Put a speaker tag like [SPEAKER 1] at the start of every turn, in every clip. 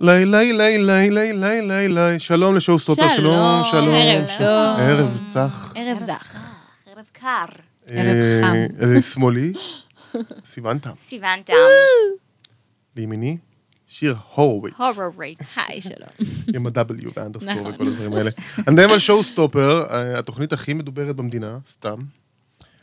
[SPEAKER 1] לי, לי, לי, לי, לי, לי, לי, לי, שלום לשואו סטופר, שלום, שלום.
[SPEAKER 2] ערב טוב.
[SPEAKER 1] ערב צח,
[SPEAKER 2] ערב זך.
[SPEAKER 3] זך. ערב קר.
[SPEAKER 2] ערב
[SPEAKER 1] אה,
[SPEAKER 2] חם.
[SPEAKER 1] אה, שמאלי, סיוון תם,
[SPEAKER 3] סיוון טעם.
[SPEAKER 1] לימיני, שיר הורוביץ,
[SPEAKER 3] הורר רייטס.
[SPEAKER 2] היי, שלום.
[SPEAKER 1] עם ה-W והאנדרסקור
[SPEAKER 2] נכון.
[SPEAKER 1] וכל הדברים האלה. אני מדבר על שואו סטופר, אה, התוכנית הכי מדוברת במדינה, סתם.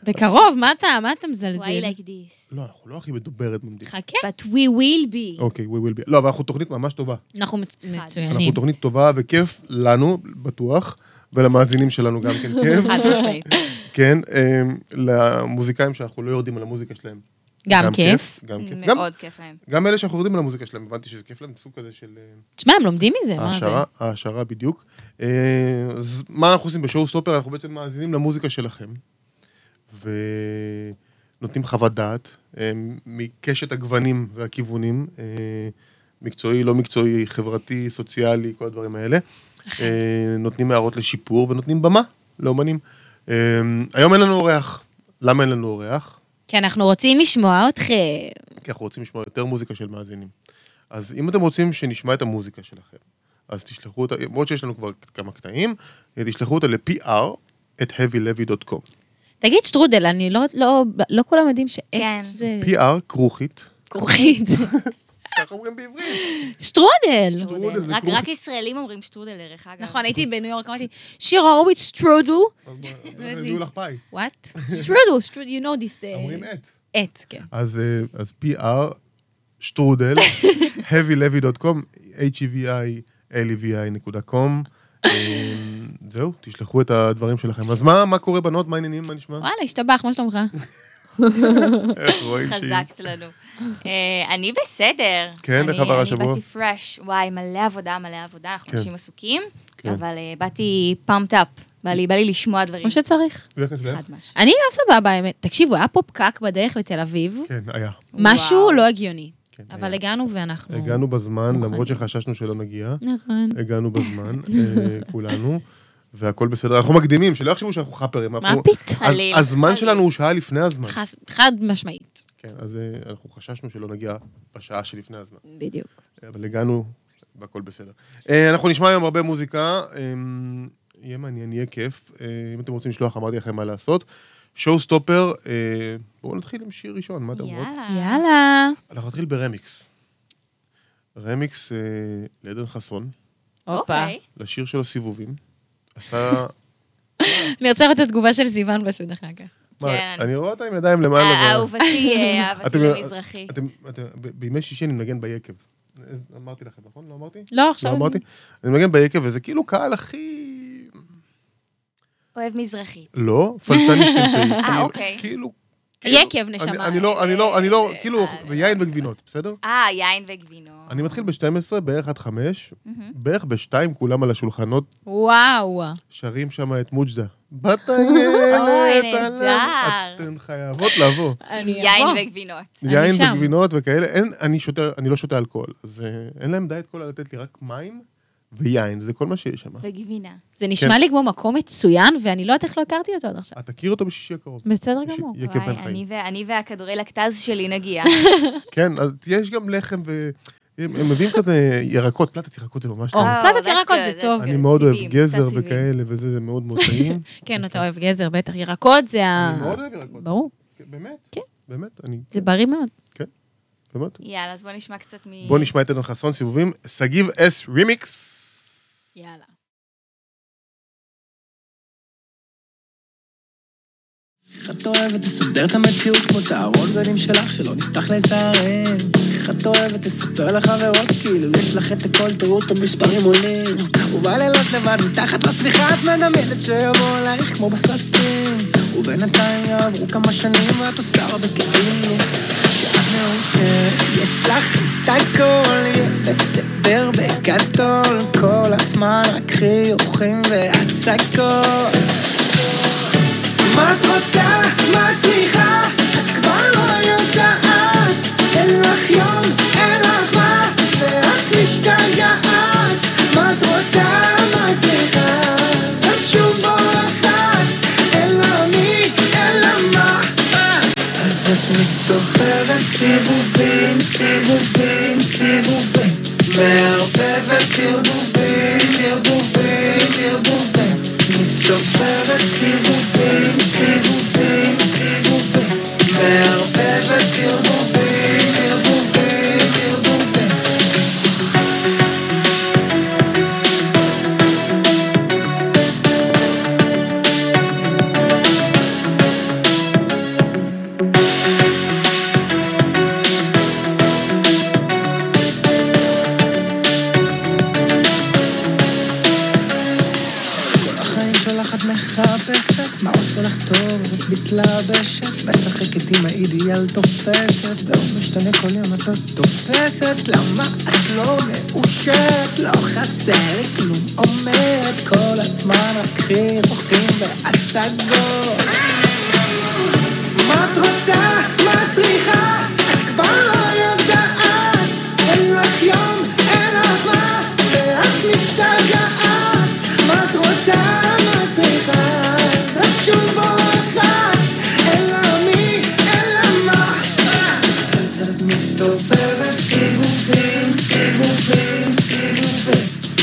[SPEAKER 2] בקרוב, מה אתה, מה אתה מזלזל?
[SPEAKER 3] Why like this?
[SPEAKER 1] לא, אנחנו לא הכי מדוברת במדינה.
[SPEAKER 2] חכה.
[SPEAKER 3] But we will be.
[SPEAKER 1] אוקיי, we will be. לא, אבל אנחנו תוכנית ממש טובה.
[SPEAKER 2] אנחנו מצ- מצוינים.
[SPEAKER 1] אנחנו תוכנית טובה וכיף לנו, בטוח, ולמאזינים שלנו גם כן כיף.
[SPEAKER 2] חד משמעית.
[SPEAKER 1] כן, אמ, למוזיקאים שאנחנו לא יורדים על המוזיקה שלהם.
[SPEAKER 2] גם כיף.
[SPEAKER 1] גם כיף. אוקיי, גם-
[SPEAKER 3] מאוד כיף להם.
[SPEAKER 1] גם אלה שאנחנו יורדים על המוזיקה שלהם, הבנתי שזה כיף להם, סוג כזה של אה,
[SPEAKER 2] תשמע, הם לומדים מזה, מה זה?
[SPEAKER 1] העשרה, העשרה בדיוק. אה, אז מה אנחנו עושים בשואו סטופר? אנחנו בעצם מאזינים למוזיקה שלכם, ונותנים חוות דעת אה, מקשת הגוונים והכיוונים, אה, מקצועי, לא מקצועי, חברתי, סוציאלי, כל הדברים האלה. אה, נותנים הערות לשיפור ונותנים במה לאומנים. אה, היום אין לנו אורח. למה אין לנו אורח?
[SPEAKER 2] כי אנחנו רוצים לשמוע אתכם.
[SPEAKER 1] כי אנחנו רוצים לשמוע יותר מוזיקה של מאזינים. אז אם אתם רוצים שנשמע את המוזיקה שלכם, אז תשלחו אותה, למרות שיש לנו כבר כמה קטעים, תשלחו אותה ל-PR את heavylevy.com.
[SPEAKER 2] תגיד, שטרודל, אני לא, לא, לא כולם יודעים שעץ
[SPEAKER 3] כן.
[SPEAKER 2] זה
[SPEAKER 1] PR כרוכית.
[SPEAKER 2] כרוכית.
[SPEAKER 1] ככה אומרים בעברית.
[SPEAKER 2] שטרודל.
[SPEAKER 1] שטרודל זה
[SPEAKER 3] רק-
[SPEAKER 1] כרוכית.
[SPEAKER 3] רק ישראלים אומרים שטרודל, דרך אגב.
[SPEAKER 2] נכון, הייתי בניו יורק, אמרתי, שירה הורוביץ שטרודל.
[SPEAKER 1] אז בוא, הביאו לך פאי.
[SPEAKER 2] וואט? שטרודל, שטרודל, you know this. אה,
[SPEAKER 1] אומרים את.
[SPEAKER 2] עץ, כן.
[SPEAKER 1] אז אה, אז PR שטרודל, heavylevy.com, E h-e-v-i-l-e-v-i.com. אה, זהו, תשלחו את הדברים שלכם. אז מה מה קורה בנות? מה העניינים? מה נשמע?
[SPEAKER 2] וואלה, השתבח, מה שלומך?
[SPEAKER 1] איך רואים שהיא-
[SPEAKER 3] חזקת לנו. אה, אני בסדר.
[SPEAKER 1] כן,
[SPEAKER 3] אני-
[SPEAKER 1] איך עבר השבוע?
[SPEAKER 3] אני באתי פרש, וואי, מלא עבודה, מלא עבודה, אנחנו
[SPEAKER 1] כן.
[SPEAKER 3] אנשים עסוקים,
[SPEAKER 1] כן.
[SPEAKER 3] אבל אה, באתי פאמפט אפ, בא לי בא לי לשמוע דברים.
[SPEAKER 2] כמו שצריך.
[SPEAKER 1] ואיך את שלך?
[SPEAKER 3] חד משמעית.
[SPEAKER 2] אני גם סבבה, האמת. תקשיבו, היה פה פקק בדרך לתל אביב,
[SPEAKER 1] כן, היה.
[SPEAKER 2] משהו לא הגיוני.
[SPEAKER 1] כן,
[SPEAKER 2] אבל
[SPEAKER 1] היה.
[SPEAKER 2] הגענו ואנחנו...
[SPEAKER 1] הגענו בזמן,
[SPEAKER 2] מוכנים.
[SPEAKER 1] למרות שחששנו שלא נגיע.
[SPEAKER 2] נכון.
[SPEAKER 1] הגענו בזמן, אה, כולנו, והכל בסדר. אנחנו מקדימים, שלא יחשבו שאנחנו חאפרים.
[SPEAKER 2] מה
[SPEAKER 1] אנחנו-
[SPEAKER 2] פתאום?
[SPEAKER 1] הז-
[SPEAKER 3] חליל,
[SPEAKER 1] הזמן
[SPEAKER 3] חליל.
[SPEAKER 1] שלנו הוא שעה לפני הזמן.
[SPEAKER 2] חס- חד משמעית.
[SPEAKER 1] כן, אז אה, אנחנו חששנו שלא נגיע בשעה שלפני הזמן.
[SPEAKER 2] בדיוק.
[SPEAKER 1] אבל הגענו, והכל בסדר. אה, אנחנו נשמע היום הרבה מוזיקה, אה, יהיה מעניין, יהיה כיף. אה, אם אתם רוצים לשלוח, אמרתי לכם מה לעשות. שואו סטופר, אה, בואו נתחיל עם שיר ראשון, מה אתם אומרות?
[SPEAKER 3] יאללה.
[SPEAKER 2] יאללה.
[SPEAKER 1] אנחנו נתחיל ברמיקס. רמיקס אה, לעדן חסון,
[SPEAKER 2] הופה.
[SPEAKER 3] אוקיי.
[SPEAKER 1] לשיר שלו סיבובים. עשה...
[SPEAKER 2] אני רוצה לראות את התגובה של סיוון פשוט אחר כך.
[SPEAKER 1] מה,
[SPEAKER 3] כן.
[SPEAKER 1] אני רואה אותה עם ידיים למעלה.
[SPEAKER 3] אה,
[SPEAKER 1] ו-
[SPEAKER 3] אהובתי, אה, אהבתי
[SPEAKER 1] אתם-
[SPEAKER 3] למזרחי.
[SPEAKER 1] אתם- אתם- ב- בימי שישי אני מנגן ביקב. אז אמרתי לכם, נכון? לא אמרתי?
[SPEAKER 2] לא, עכשיו...
[SPEAKER 1] לא אמרתי? אני מנגן ביקב, וזה כאילו קהל הכי...
[SPEAKER 3] אוהב מזרחי.
[SPEAKER 1] לא, פלצני שתמצאי. כאילו-
[SPEAKER 3] אוקיי.
[SPEAKER 1] כאילו...
[SPEAKER 2] יקב,
[SPEAKER 1] אני-
[SPEAKER 2] נשמה.
[SPEAKER 1] אני לא, אני לא, אני לא, כאילו, זה יין וגבינות, בסדר?
[SPEAKER 3] אה, יין וגבינות.
[SPEAKER 1] אני מתחיל ב-12, בערך עד 5, בערך ב-2 כולם על השולחנות
[SPEAKER 2] וואו.
[SPEAKER 1] שרים שם את מוג'דה. בת הילד,
[SPEAKER 3] אוי, נהדר.
[SPEAKER 1] הלב, אתן חייבות לבוא.
[SPEAKER 2] אני
[SPEAKER 3] יין
[SPEAKER 2] אבוא.
[SPEAKER 3] וגבינות.
[SPEAKER 2] אני
[SPEAKER 1] יין
[SPEAKER 2] שם.
[SPEAKER 1] וגבינות וכאלה, אין, אני שותה, אני לא שותה אלכוהול, אז אה, אין להם דיאט קולה לתת לי רק מים ויין, זה כל מה שיש שם.
[SPEAKER 3] וגבינה.
[SPEAKER 2] זה
[SPEAKER 1] כן.
[SPEAKER 2] נשמע לי כמו מקום מצוין, ואני לא יודעת איך לא הכרתי אותו עד עכשיו.
[SPEAKER 1] את תכיר אותו בשישי הקרוב.
[SPEAKER 2] בסדר
[SPEAKER 1] יש-
[SPEAKER 2] גמור.
[SPEAKER 1] יקב
[SPEAKER 3] וואי,
[SPEAKER 1] בן חיים.
[SPEAKER 3] אני ו- אני והכדורי לקטז שלי נגיע.
[SPEAKER 1] כן, אז יש גם לחם ו... הם הם מביאים כזה ירקות, פלטת ירקות זה ממש
[SPEAKER 2] או,
[SPEAKER 1] טעים.
[SPEAKER 2] פלטת
[SPEAKER 3] that's
[SPEAKER 2] ירקות
[SPEAKER 3] good,
[SPEAKER 2] זה
[SPEAKER 3] that's
[SPEAKER 2] טוב.
[SPEAKER 3] good.
[SPEAKER 1] אני מאוד אוהב
[SPEAKER 3] סיבים,
[SPEAKER 1] גזר
[SPEAKER 3] תעשיבים.
[SPEAKER 1] וכאלה, וזה זה מאוד מאוד טעים.
[SPEAKER 2] כן, אתה אוהב גזר, בטח. ירקות זה ה...
[SPEAKER 1] אני מאוד אוהב ירקות.
[SPEAKER 2] ברור.
[SPEAKER 1] כן, באמת?
[SPEAKER 2] אה. כן.
[SPEAKER 1] באמת, אני... כן.
[SPEAKER 2] זה בריא מאוד.
[SPEAKER 1] באמת.
[SPEAKER 3] יאללה, אז בוא נשמע קצת מ...
[SPEAKER 1] בואו נשמע את עדן חסון, סיבובים, סגיב אס רימיקס.
[SPEAKER 3] יאללה.
[SPEAKER 4] איך את אוהבת לסדר את המציאות כמו את הארון גלים שלך שלא נפתח לזערם איך את אוהבת לספר לחברות כאילו יש לך את הכל תראו את המספרים עולים ובלילות לבד מתחת לשמיכה את מדמיינת שיבואו אלייך כמו בסרטים ובינתיים יעברו כמה שנים ואת עושה הרבה כאילו שאת מאושרת יש לך את הכל יהיה בסדר בגדול כל הזמן רק חיוכים והצגות מה את רוצה? מה את צריכה? את כבר לא יודעת. אין לך יום, אין לך מה, ואת משתגעת. מה את רוצה? מה את צריכה? זאת שום בורחת. אין לה מי, אין לה מה. אז את מסתובבת סיבובים, סיבובים, סיבובים. מהרבה ערבובים, ערבובים, ערבובים. מסתובבת סיבובים, סיבובים, סיבובים. מערבבת ערבובים, ערבובים, ערבובים. כל החיים שלך את מחפשת, מה עושה לך טוב, את מתלבשת, משחקת עם האידיאל תופסת, והוא משתנה כל יום את לא תופסת, למה את לא מאושרת, לא חסר לי כלום, אומרת כל הזמן רק חירוכים והצגות. מה את רוצה? מה את צריכה? את כבר לא יודעת. אין לך יום, אין לך מה, ואת משתגעת. מה את רוצה? מה את צריכה? את רק תשובה אחת. אין לה מי, אין לה מה. אז את מסתובבת סיבובים, סיבובים, סיבובים.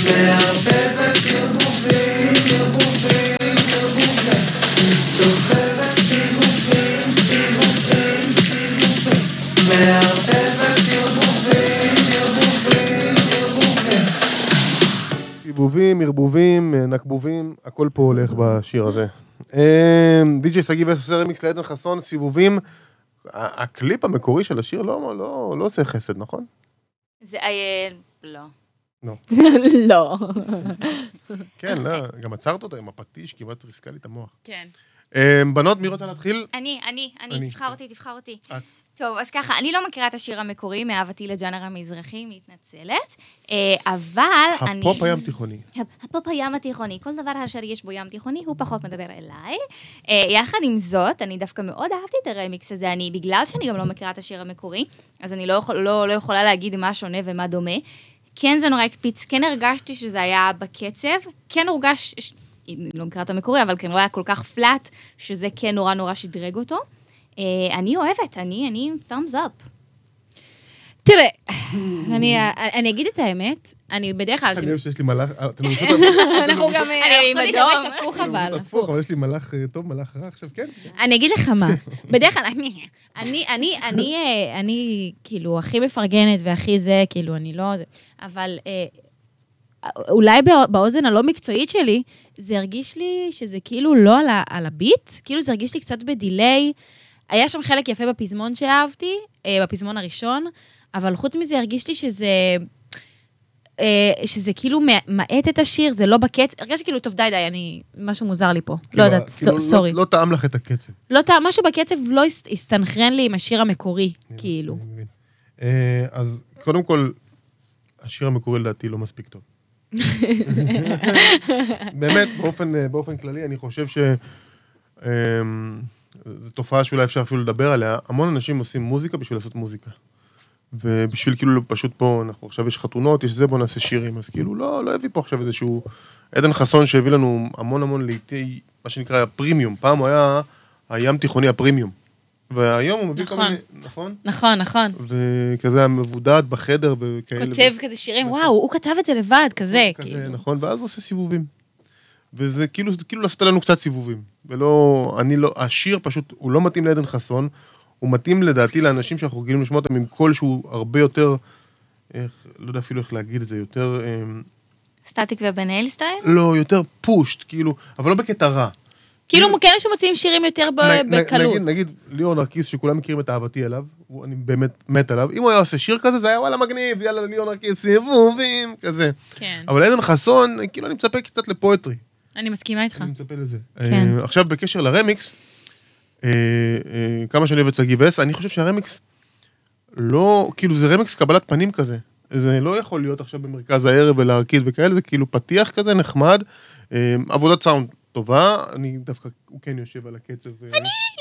[SPEAKER 4] מערבבת ערבובים, ערבובים, ערבובים. מסתובבת סיבובים, סיבובים, סיבובים. מערבבת ערבובים, ערבובים, ערבובים.
[SPEAKER 1] עיבובים, ערבובים, אה, נקבובים, הכל פה הולך בשיר הזה. די.ג'יי שגיא וסר רמיקס לעדן חסון, סיבובים. ה- הקליפ המקורי של השיר לא, לא, לא עושה חסד, נכון?
[SPEAKER 3] זה... אה, לא.
[SPEAKER 2] לא.
[SPEAKER 1] כן, לא, גם עצרת אותה עם הפטיש, כמעט ריסקה לי את המוח.
[SPEAKER 5] כן.
[SPEAKER 1] אה, בנות, מי רוצה להתחיל?
[SPEAKER 3] אני, אני,
[SPEAKER 1] אני.
[SPEAKER 3] אני, תבחר אותי, תבחר אותי.
[SPEAKER 1] את.
[SPEAKER 3] טוב, אז ככה, אני לא מכירה את השיר המקורי, מאהבתי לג'אנר המזרחי, מתנצלת, אה, אבל אני...
[SPEAKER 1] הפופ הים תיכוני.
[SPEAKER 3] הפופ הים התיכוני, כל דבר אשר יש בו ים תיכוני, הוא פחות מדבר אליי. אה, יחד עם זאת, אני דווקא מאוד אהבתי את הרמיקס הזה, אני, בגלל שאני גם לא מכירה את השיר המקורי, אז אני לא, יכול, לא, לא יכולה להגיד מה שונה ומה דומה. כן זה נורא הקפיץ, כן הרגשתי שזה היה בקצב, כן הורגש, ש- אם לא מכירה את המקורי, אבל כן הוא היה כל כך פלאט, שזה כן נורא נורא שדרג אותו. אה, אני אוהבת, אני, אני, thumbs up.
[SPEAKER 2] תראה, אני- אני אגיד את האמת, אני בדרך כלל...
[SPEAKER 1] אני אוהב שיש לי מלאך, אה, אתם רוצים אותו
[SPEAKER 5] אנחנו גם אה,
[SPEAKER 2] אני
[SPEAKER 3] לא
[SPEAKER 5] עם
[SPEAKER 2] רוצה
[SPEAKER 5] אדום.
[SPEAKER 2] להתלבש הפוך אבל.
[SPEAKER 1] הפוך, אבל יש לי מלאך אה, טוב, מלאך רע עכשיו, כן?
[SPEAKER 2] אני אגיד לך מה, בדרך כלל, אני, אני, אני, אני, אה, אני, כאילו, הכי מפרגנת והכי זה, כאילו, אני לא... זה, אבל אה, אולי בא- באוזן הלא מקצועית שלי, זה הרגיש לי שזה כאילו לא על, ה, על הביט, כאילו זה הרגיש לי קצת בדיליי. היה שם חלק יפה בפזמון שאהבתי, אה, בפזמון הראשון, אבל חוץ מזה הרגיש לי שזה... אה, שזה כאילו מאט את השיר, זה לא בקץ, הרגשתי כאילו, טוב, די, די, אני... משהו מוזר לי פה. לא
[SPEAKER 1] כאילו,
[SPEAKER 2] יודעת,
[SPEAKER 1] כאילו, לא-
[SPEAKER 2] סורי.
[SPEAKER 1] לא טעם לך את הקצב.
[SPEAKER 2] לא טעה, משהו בקצב לא הס- הסתנכרן לי עם השיר המקורי,
[SPEAKER 1] כן,
[SPEAKER 2] כאילו.
[SPEAKER 1] אני מבין. אה, אז קודם כל, השיר המקורי לדעתי לא מספיק טוב. באמת, באופן, אה, באופן כללי, אני חושב ש... אה, זו תופעה שאולי אפשר אפילו לדבר עליה. המון אנשים עושים מוזיקה בשביל לעשות מוזיקה. ובשביל כאילו פשוט פה, אנחנו עכשיו יש חתונות, יש זה, בוא נעשה שירים. אז כאילו, לא, לא הביא פה עכשיו איזשהו... עדן חסון שהביא לנו המון המון לעיתי, מה שנקרא פרימיום. פעם הוא היה הים תיכוני הפרימיום. והיום הוא מביא כל
[SPEAKER 2] נכון.
[SPEAKER 1] מיני... נכון.
[SPEAKER 2] נכון, נכון.
[SPEAKER 1] וכזה המבודד בחדר וכאלה.
[SPEAKER 2] כותב כזה שירים, וואו, הוא כתב את זה לבד, כזה,
[SPEAKER 1] נכון. כזה,
[SPEAKER 2] כאילו.
[SPEAKER 1] נכון, ואז הוא עושה סיבובים. וזה כאילו, זה כאילו עשית לנו קצת סיבובים. ולא, אני לא, השיר פשוט, הוא לא מתאים לעדן חסון, הוא מתאים לדעתי לאנשים שאנחנו רגילים לשמוע אותם עם קול שהוא הרבה יותר, איך, לא יודע אפילו איך להגיד את זה, יותר, אה,
[SPEAKER 3] סטטיק ובן אל סטייל?
[SPEAKER 1] לא, יותר פושט, כאילו, אבל לא בקטע רע.
[SPEAKER 2] כאילו, כאלה שמוציאים שירים יותר ב-
[SPEAKER 1] נ- נ-
[SPEAKER 2] בקלות.
[SPEAKER 1] נגיד, נגיד ליאור נרקיס, שכולם מכירים את אהבתי אליו, הוא- אני באמת מת עליו, אם הוא היה עושה שיר כזה, זה היה וואלה מגניב, יאללה ליאור נרקיס, סיבובים, כזה.
[SPEAKER 2] כן,
[SPEAKER 1] אבל עדן חסון, כאילו אני מצפה קצת לפואטרי.
[SPEAKER 2] אני מסכימה איתך.
[SPEAKER 1] אני מצפה לזה.
[SPEAKER 2] כן.
[SPEAKER 1] אה, עכשיו, בקשר לרמיקס, אה, אה, כמה שאני אוהב את שגיא וס, אני חושב שהרמיקס לא, כאילו זה רמיקס קבלת פנים כזה. זה לא יכול להיות עכשיו במרכז הערב ולהרקיד וכאלה, זה כאילו פתיח כזה נחמד. אה, עבודת סאונד טובה, אני דווקא, הוא כן יושב על הקצב. אני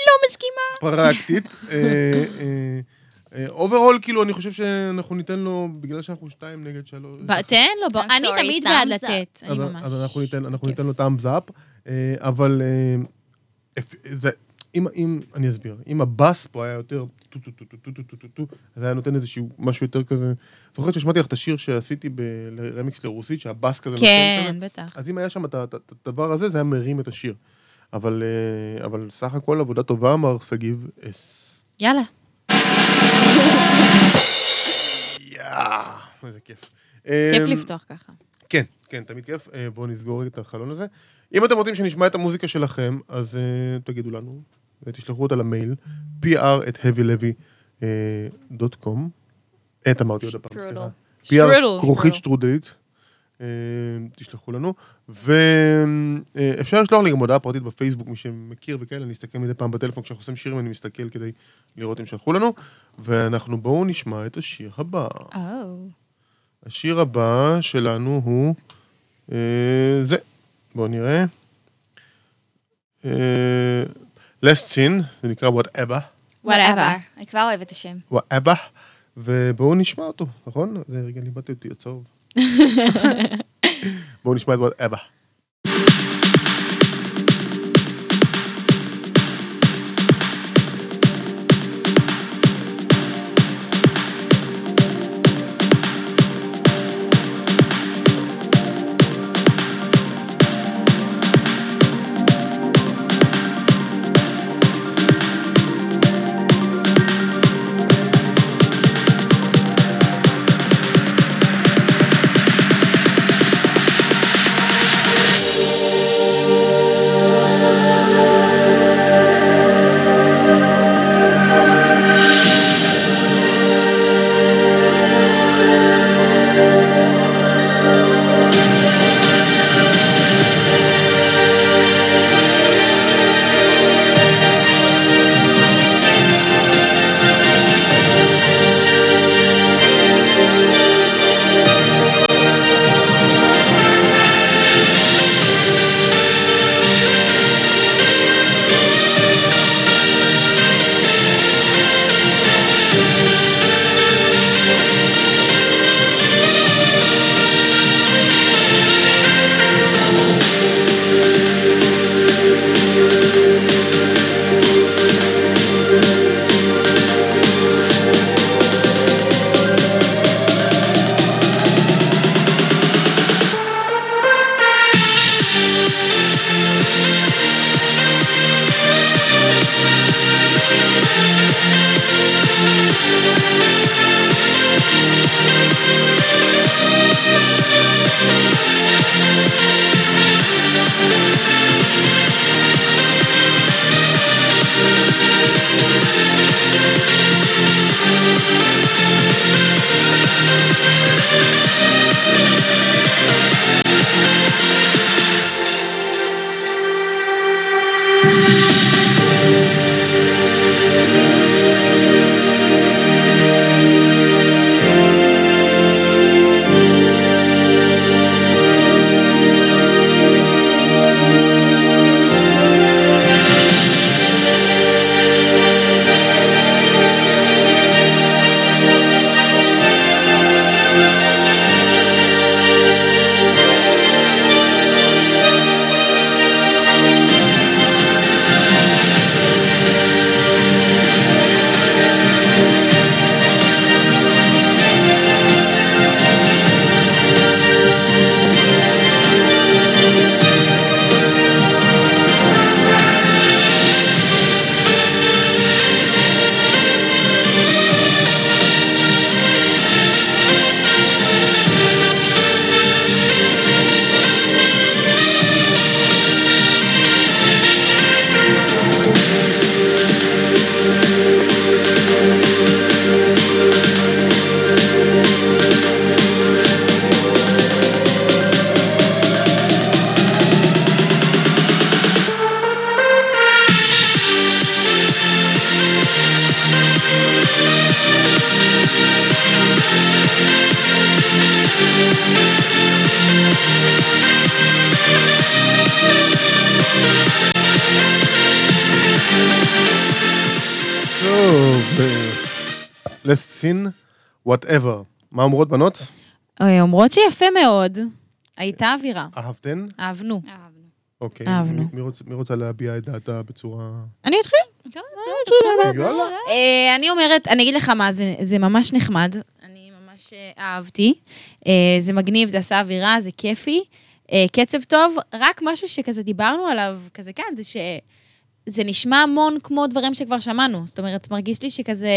[SPEAKER 2] לא מסכימה.
[SPEAKER 1] פרקטית. אה, אוברול, כאילו, אני חושב שאנחנו ניתן לו, בגלל שאנחנו שתיים נגד שלוש.
[SPEAKER 2] ב- תן לו, בוא.
[SPEAKER 3] I'm
[SPEAKER 2] אני
[SPEAKER 3] sorry,
[SPEAKER 2] תמיד בעד
[SPEAKER 3] thumbs up.
[SPEAKER 2] לתת. אני
[SPEAKER 1] אז-
[SPEAKER 2] ממש...
[SPEAKER 1] אז אה, אנחנו ניתן, אנחנו
[SPEAKER 2] כיף.
[SPEAKER 1] ניתן לו את האמזאפ, אה, אבל אה, אפ- זה- אם, אם, אני אסביר, אם הבאס פה היה יותר טו טו טו טו טו טו טו טו טו, אז היה נותן איזשהו משהו יותר כזה. זוכרת שהשמעתי לך את השיר שעשיתי ברמיקס לרוסית, שהבאס כזה נותן
[SPEAKER 2] כן,
[SPEAKER 1] כזה?
[SPEAKER 2] בטח.
[SPEAKER 1] אז אם היה שם את ה- את ה- את הדבר הזה, זה היה מרים את השיר. אבל, אה, אבל סך הכל עבודה טובה, אמר שגיב אה, אס.
[SPEAKER 2] יאללה.
[SPEAKER 1] יאה, איזה כיף.
[SPEAKER 2] כיף
[SPEAKER 1] אמ,
[SPEAKER 2] לפתוח ככה.
[SPEAKER 1] כן, כן, תמיד כיף. אה, בואו נסגור את החלון הזה. אם אתם רוצים שנשמע את המוזיקה שלכם, אז אה, תגידו לנו, ותשלחו אותה למייל, אה, pr@heavylevy.com. אה, את אמרתי עוד פעם, סליחה.
[SPEAKER 2] שטרודל.
[SPEAKER 1] PR כרוכית שטרודלית. אה, תשלחו לנו. ואפשר לשלוח לי גם הודעה פרטית בפייסבוק, מי שמכיר וכאלה, אני אסתכל מדי פעם בטלפון כשאנחנו עושים שירים, אני מסתכל כדי לראות אם שלחו לנו. ואנחנו בואו נשמע את השיר הבא.
[SPEAKER 3] Oh.
[SPEAKER 2] או.
[SPEAKER 1] השיר הבא שלנו הוא אה, זה. בואו נראה. אה, last sin, זה נקרא whatever.
[SPEAKER 2] וואטאבר.
[SPEAKER 3] אני כבר אוהבת את השם.
[SPEAKER 1] whatever. ובואו נשמע אותו, נכון? זה רגע, ליבדתי אותי, הצהוב. בואו נשמע את whatever. טוב, אה, last sin, whatever. מה אומרות בנות?
[SPEAKER 2] אוי, אומרות שיפה מאוד. הייתה אווירה.
[SPEAKER 1] אהבתן?
[SPEAKER 2] אהבנו.
[SPEAKER 3] אהבנו.
[SPEAKER 1] אוקיי.
[SPEAKER 2] אהבנו.
[SPEAKER 1] מי- מי רוצ- מי רוצה להביע את דעתה בצורה...
[SPEAKER 2] אני אתחיל.
[SPEAKER 1] יאללה.
[SPEAKER 2] אה, אני אומרת, אני אגיד לך מה, זה- זה ממש נחמד. אני ממש אה, אהבתי. אה, זה מגניב, זה עשה אווירה, זה כיפי. אה, קצב טוב, רק משהו שכזה דיברנו עליו כזה כאן, זה ש... זה נשמע המון כמו דברים שכבר שמענו. זאת אומרת, מרגיש לי שכזה...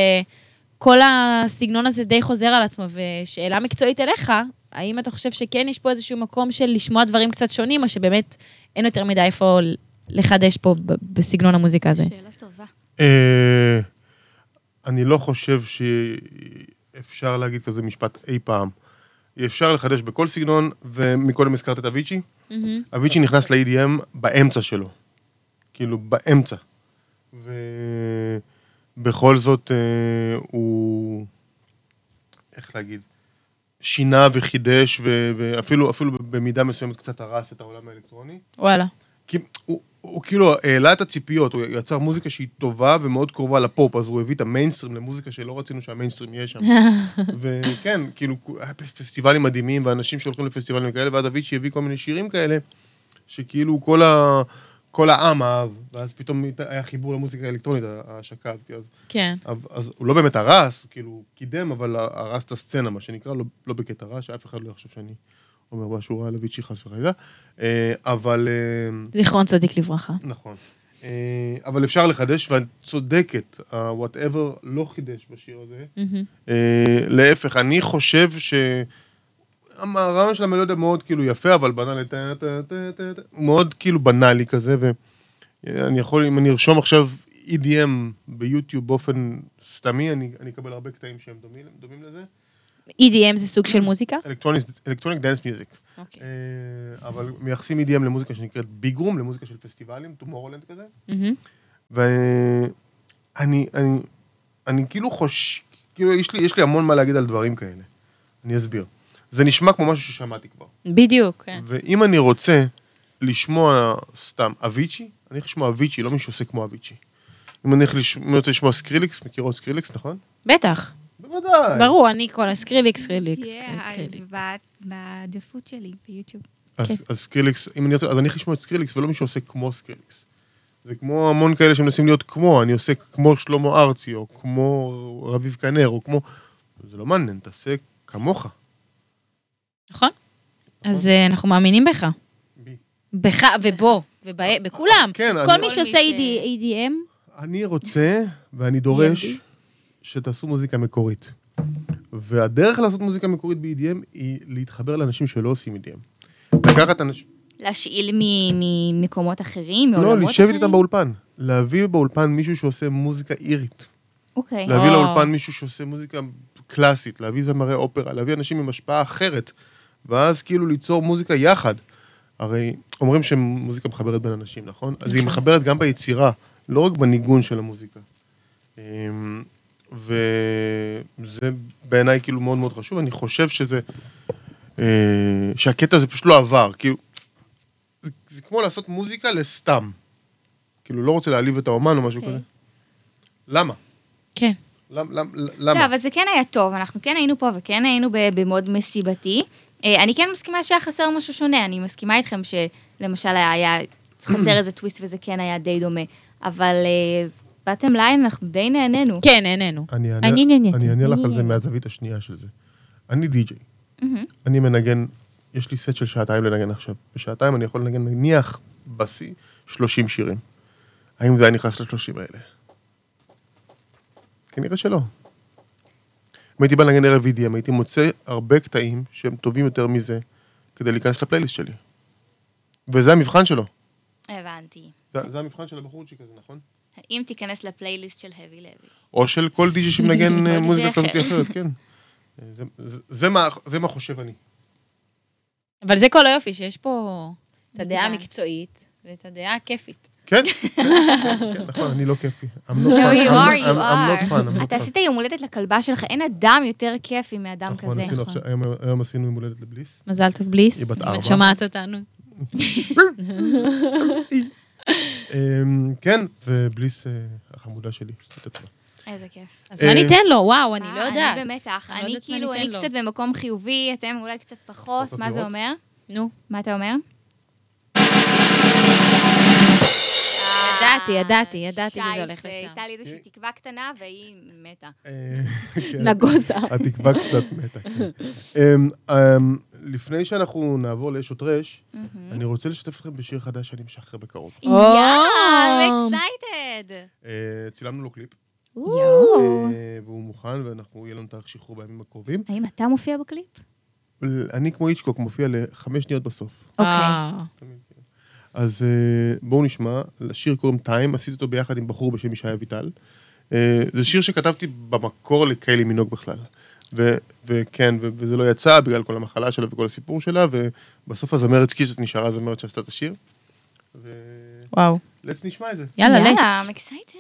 [SPEAKER 2] כל הסגנון הזה די חוזר על עצמו, ושאלה מקצועית אליך, האם אתה חושב שכן יש פה איזשהו מקום של לשמוע דברים קצת שונים, או שבאמת אין יותר מדי איפה לחדש פה ב- בסגנון המוזיקה הזה?
[SPEAKER 3] שאלה טובה.
[SPEAKER 1] אה, אני לא חושב שאפשר להגיד כזה משפט אי פעם. אפשר לחדש בכל סגנון, ומקודם הזכרת את אביצ'י. אביצ'י נכנס ל-EDM באמצע שלו. כאילו, באמצע. ובכל זאת, אה, הוא... איך להגיד? שינה וחידש, ו- ואפילו אפילו במידה מסוימת קצת הרס את העולם האלקטרוני.
[SPEAKER 2] וואלה.
[SPEAKER 1] כי הוא, הוא כאילו העלה את הציפיות, הוא יצר מוזיקה שהיא טובה ומאוד קרובה לפופ, אז הוא הביא את המיינסטרים למוזיקה שלא רצינו שהמיינסטרים יהיה שם. וכן, כאילו, היה פס- פסטיבלים מדהימים, ואנשים שהולכים לפסטיבלים כאלה, ואז אביצ'י הביא כל מיני שירים כאלה, שכאילו כל, ה, כל העם אהב, ואז פתאום הייתה- היה חיבור למוזיקה האלקטרונית, ההשקה הזאת. אז,
[SPEAKER 2] כן.
[SPEAKER 1] אז, אז הוא לא באמת הרס, הוא כאילו קידם, אבל הרס את הסצנה, מה שנקרא, לא, לא בקטע רע, שאף אחד לא יחשוב שאני אומר משהו רע על אביצ'י חס וחלילה. אה, אבל... אה,
[SPEAKER 2] זיכרון צדיק לברכה.
[SPEAKER 1] נכון. אה, אבל אפשר לחדש, ואת צודקת, ה-whatever לא חידש בשיר הזה. אה, להפך, אני חושב ש... הרעיון של המלודיה מאוד כאילו יפה, אבל בנאלי, טה, טה, טה, טה, טה, הוא מאוד כאילו בנאלי כזה, ואני יכול, אם אני ארשום עכשיו EDM ביוטיוב באופן סתמי, אני, אני אקבל הרבה קטעים שהם דומים, דומים לזה.
[SPEAKER 2] EDM E זה סוג של מוזיקה?
[SPEAKER 1] אלקטרוניק דנס מיוזיק. אה,
[SPEAKER 2] אוקיי.
[SPEAKER 1] אבל מייחסים EDM למוזיקה שנקראת ביג רום, למוזיקה של פסטיבלים, טומורולנד כזה.
[SPEAKER 2] מהמם.
[SPEAKER 1] ואני אני, אני כאילו חוש... כאילו, יש לי, יש לי המון מה להגיד על דברים כאלה. אני אסביר. זה נשמע כמו משהו ששמעתי כבר.
[SPEAKER 2] בדיוק, כן.
[SPEAKER 1] ואם אני רוצה לשמוע סתם אביצ'י, אני הולך לשמוע אביצ'י, לא מישהו שעושה כמו אביצ'י. אם אני הולך לש- אם אני רוצה לשמוע סקריליקס, מכירות סקריליקס, נכון?
[SPEAKER 2] בטח.
[SPEAKER 1] בוודאי.
[SPEAKER 2] ברור, אני כל הסקריליקס, סקריליקס,
[SPEAKER 5] תהיה אז
[SPEAKER 2] סקריליקס.
[SPEAKER 5] בת- בעדיפות שלי ביוטיוב.
[SPEAKER 1] אז, אז סקריליקס, אם אני רוצה, אז אני הולך לשמוע את סקריליקס ולא מי שעושה כמו סקריליקס. זה כמו המון כאלה שמנסים להיות כמו, אני עושה כמו שלמה ארצי, או כמו רביב כנר, או כמו... זה לא מעניין, תעשה כמוך.
[SPEAKER 2] נכון? אז אה, אנחנו מאמינים בך.
[SPEAKER 1] בי.
[SPEAKER 2] בך ובו, ובכולם.
[SPEAKER 1] כן,
[SPEAKER 2] כל
[SPEAKER 1] אני-
[SPEAKER 2] מי
[SPEAKER 3] כל
[SPEAKER 2] שעושה E
[SPEAKER 3] מי ש-
[SPEAKER 2] ED- EDM,
[SPEAKER 1] אני רוצה, ואני דורש,
[SPEAKER 2] EMD?
[SPEAKER 1] שתעשו מוזיקה מקורית. והדרך לעשות מוזיקה מקורית ב-EDM היא להתחבר לאנשים שלא עושים EDM. לקחת אנשים...
[SPEAKER 3] להשאיל מ- ממקומות אחרים,
[SPEAKER 1] לא,
[SPEAKER 3] מעולמות אחרים?
[SPEAKER 1] לשבת איתם באולפן. להביא באולפן מישהו שעושה מוזיקה אירית.
[SPEAKER 3] אוקיי.
[SPEAKER 1] להביא
[SPEAKER 2] או.
[SPEAKER 1] לאולפן מישהו שעושה מוזיקה קלאסית, להביא זמרי אופרה, להביא אנשים עם השפעה אחרת, ואז כאילו ליצור מוזיקה יחד. הרי אומרים שמוזיקה מחברת בין אנשים, נכון? אז היא מחברת גם ביצירה, לא רק בניגון של המוזיקה. אמ, וזה בעיניי כאילו מאוד מאוד חשוב, אני חושב שזה... אה, שהקטע הזה פשוט לא עבר, כאילו... זה, זה כמו לעשות מוזיקה לסתם. כאילו, לא רוצה להעליב את האומן או משהו כזה. למה?
[SPEAKER 2] כן.
[SPEAKER 1] למ- למ-
[SPEAKER 3] לא,
[SPEAKER 1] למה?
[SPEAKER 3] אבל זה כן היה טוב, אנחנו כן היינו פה וכן היינו ב- במוד מסיבתי. אה, אני כן מסכימה שהיה חסר משהו שונה, אני מסכימה איתכם שלמשל היה- היה חסר איזה טוויסט וזה כן היה די דומה, אבל אה, באתם ליין, אנחנו די נהנינו.
[SPEAKER 2] כן, נהנינו.
[SPEAKER 1] אני אענה-
[SPEAKER 2] אני נהניתי.
[SPEAKER 1] אני אענה לך על זה
[SPEAKER 2] נהניתי.
[SPEAKER 1] מהזווית השנייה של זה. אני די-ג'יי. אני מנגן, יש לי סט של שעתיים לנגן עכשיו. בשעתיים אני יכול לנגן, נניח, בשיא, 30 שירים. האם זה היה נכנס ל-30 האלה? כנראה שלא. אם הייתי בא לנגן ערב EDM, הייתי מוצא הרבה קטעים שהם טובים יותר מזה, כדי להיכנס לפלייליסט שלי. וזה המבחן שלו.
[SPEAKER 3] הבנתי.
[SPEAKER 1] זה, זה המבחן של הבחורצ'יק הזה, נכון?
[SPEAKER 3] האם תיכנס לפלייליסט של האבי לוי?
[SPEAKER 1] או של כל דיג'י שמנגן אה,
[SPEAKER 3] כל
[SPEAKER 1] מוזיקה
[SPEAKER 3] די-ג'יי
[SPEAKER 1] כזאת
[SPEAKER 3] אחר.
[SPEAKER 1] אחרת, כן. אה, זה- זה- זה מה- זה מה חושב אני.
[SPEAKER 2] אבל זה כל היופי, שיש פה את הדעה
[SPEAKER 3] כן.
[SPEAKER 2] המקצועית ואת הדעה הכיפית.
[SPEAKER 1] כן, כן, כן, נכון, אני לא כיפי. I'm not fun. I'm- I'm-
[SPEAKER 3] you are,
[SPEAKER 1] I'm not fun,
[SPEAKER 3] you
[SPEAKER 1] I'm
[SPEAKER 3] are.
[SPEAKER 1] not
[SPEAKER 3] אתה
[SPEAKER 1] fun.
[SPEAKER 3] עשית יום הולדת לכלבה שלך, אין אדם יותר כיפי מאדם
[SPEAKER 1] נכון,
[SPEAKER 3] כזה.
[SPEAKER 1] עשינו עכשיו- היום- היום עשינו יום הולדת לבליס.
[SPEAKER 2] מזל טוב בליס.
[SPEAKER 1] היא בת
[SPEAKER 2] אם
[SPEAKER 1] ארבע.
[SPEAKER 2] את שומעת אותנו.
[SPEAKER 1] אמ, כן, ובליס אה, החמודה שלי. את עצמה.
[SPEAKER 3] איזה כיף.
[SPEAKER 2] אז מה
[SPEAKER 1] אה,
[SPEAKER 2] ניתן לו? וואו, אני
[SPEAKER 3] אה,
[SPEAKER 2] לא יודעת.
[SPEAKER 3] אני במתח.
[SPEAKER 2] לא
[SPEAKER 3] אני
[SPEAKER 2] יודעת מה
[SPEAKER 3] כאילו,
[SPEAKER 2] ניתן
[SPEAKER 3] אני
[SPEAKER 2] לו.
[SPEAKER 3] קצת במקום חיובי, אתם אולי קצת פחות,
[SPEAKER 1] רוצות
[SPEAKER 3] מה זה
[SPEAKER 1] לראות?
[SPEAKER 3] אומר?
[SPEAKER 2] נו.
[SPEAKER 3] מה אתה אומר?
[SPEAKER 2] ידעתי, ידעתי, ידעתי שזה
[SPEAKER 3] אה, שי,
[SPEAKER 2] הולך
[SPEAKER 3] זה-
[SPEAKER 2] לשם. כן.
[SPEAKER 3] הייתה לי איזושהי תקווה קטנה והיא מתה.
[SPEAKER 1] אה, כן.
[SPEAKER 2] נגוזה.
[SPEAKER 1] התקווה קצת מתה, כן. אמ, אמ, לפני שאנחנו נעבור לאשות רש, אני רוצה לשתף אתכם בשיר חדש שאני משחרר בקרוב.
[SPEAKER 3] יאללה, אקסייטד.
[SPEAKER 1] אה, צילמנו לו קליפ, אה, והוא מוכן, ואנחנו, יהיה לנו תאריך שחרור בימים הקרובים.
[SPEAKER 3] האם אתה מופיע בקליפ?
[SPEAKER 1] אני כמו איצ'קוק מופיע לחמש שניות בסוף.
[SPEAKER 2] אה,
[SPEAKER 1] אז אה, בואו נשמע, לשיר קוראים טיים, עשיתי אותו ביחד עם בחור בשם ישי אביטל. אה, זה שיר שכתבתי במקור לקיילי מינוג בכלל. ו- וכן, ו- וזה לא יצא בגלל כל המחלה שלה וכל הסיפור שלה, ובסוף הזמרת סקיזות נשארה הזמרת שעשתה את השיר. ולץ
[SPEAKER 2] וואו.
[SPEAKER 1] נשמע את זה.
[SPEAKER 2] יאללה,
[SPEAKER 3] יאללה,
[SPEAKER 2] לץ.
[SPEAKER 3] I'm excited.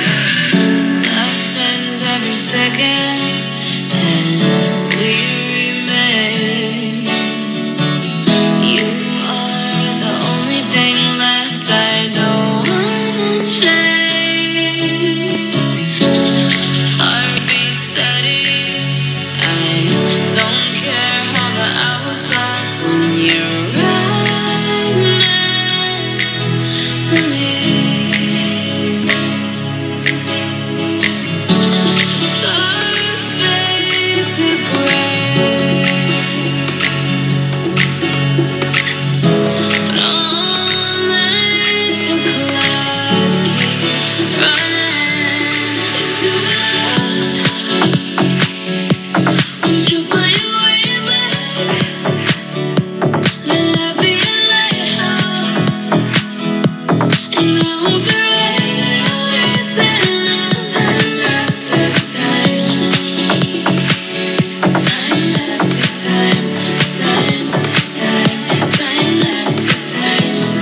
[SPEAKER 6] Time spends every second, and we remain. You are the only thing left I don't wanna change. Heartbeat steady, I don't care how the hours pass when you're right next to me. Stars fade to gray, but only the clock keeps running. It's fast. Won't you find your way back? Let I be a lighthouse, and I will be right there. It's endless, time left to time, time left to time, time, time, time left to time, time left to time, time, time.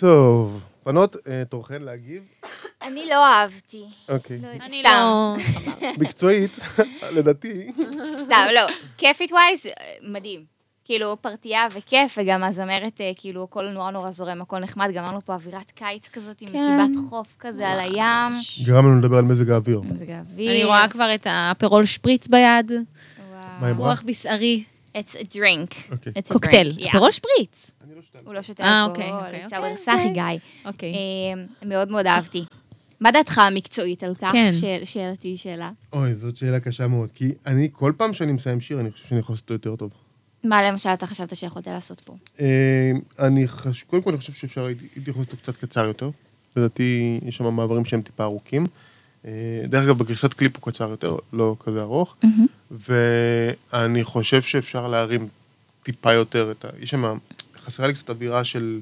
[SPEAKER 1] טוב, בנות, אה, תורכן להגיב.
[SPEAKER 7] אני לא אהבתי.
[SPEAKER 1] אוקיי.
[SPEAKER 2] אני
[SPEAKER 7] סתם.
[SPEAKER 2] לא...
[SPEAKER 1] מקצועית, לדעתי,
[SPEAKER 3] סתם, לא. כיפית ווייז, אה, מדהים. כאילו, פרטייה וכיף, וגם הזמרת, אה, כאילו, הכל נורא נורא זורם, הכל נחמד. גם אמרנו פה אווירת קיץ כזאת, עם מסיבת חוף כזה על הים.
[SPEAKER 1] גרם לנו לדבר על מזג האוויר.
[SPEAKER 3] מזג האוויר.
[SPEAKER 2] אני רואה כבר את האפרול שפריץ ביד,
[SPEAKER 1] מה היא אמרה?
[SPEAKER 2] רוח בשערי,
[SPEAKER 3] It's a drink.
[SPEAKER 1] אוקיי.
[SPEAKER 3] It's a
[SPEAKER 2] קוקטייל.
[SPEAKER 3] drink, yeah.
[SPEAKER 2] אפרול שפריץ.
[SPEAKER 1] אני לא שותף.
[SPEAKER 3] הוא לא שותה
[SPEAKER 2] אה,
[SPEAKER 3] אלכוהול,
[SPEAKER 2] אוקיי, אוקיי,
[SPEAKER 3] it's
[SPEAKER 2] אוקיי,
[SPEAKER 3] our סאחי גיא.
[SPEAKER 2] אוקיי.
[SPEAKER 3] אה, מאוד מאוד אהבתי. מה דעתך המקצועית על כך?
[SPEAKER 2] כן.
[SPEAKER 3] שאל- שאלתי היא שאלה.
[SPEAKER 1] אוי, זאת שאלה קשה מאוד, כי אני, כל פעם שאני מסיים שיר, אני חושב שאני יכול לעשות אותו יותר טוב.
[SPEAKER 3] מה למשל אתה חשבת שיכולת לעשות פה?
[SPEAKER 1] אה, אני חש... קודם כל, אני חושב שאפשר, הייתי הייתי יכול לעשות אותו קצת קצר יותר. לדעתי, יש שם מעברים שהם טיפה ארוכים. אה, דרך אגב, בגרסת קליפ הוא קצר יותר, לא כזה ארוך. ואני חושב שאפשר להרים טיפה יותר את ה... יש שם... חסרה לי קצת אווירה של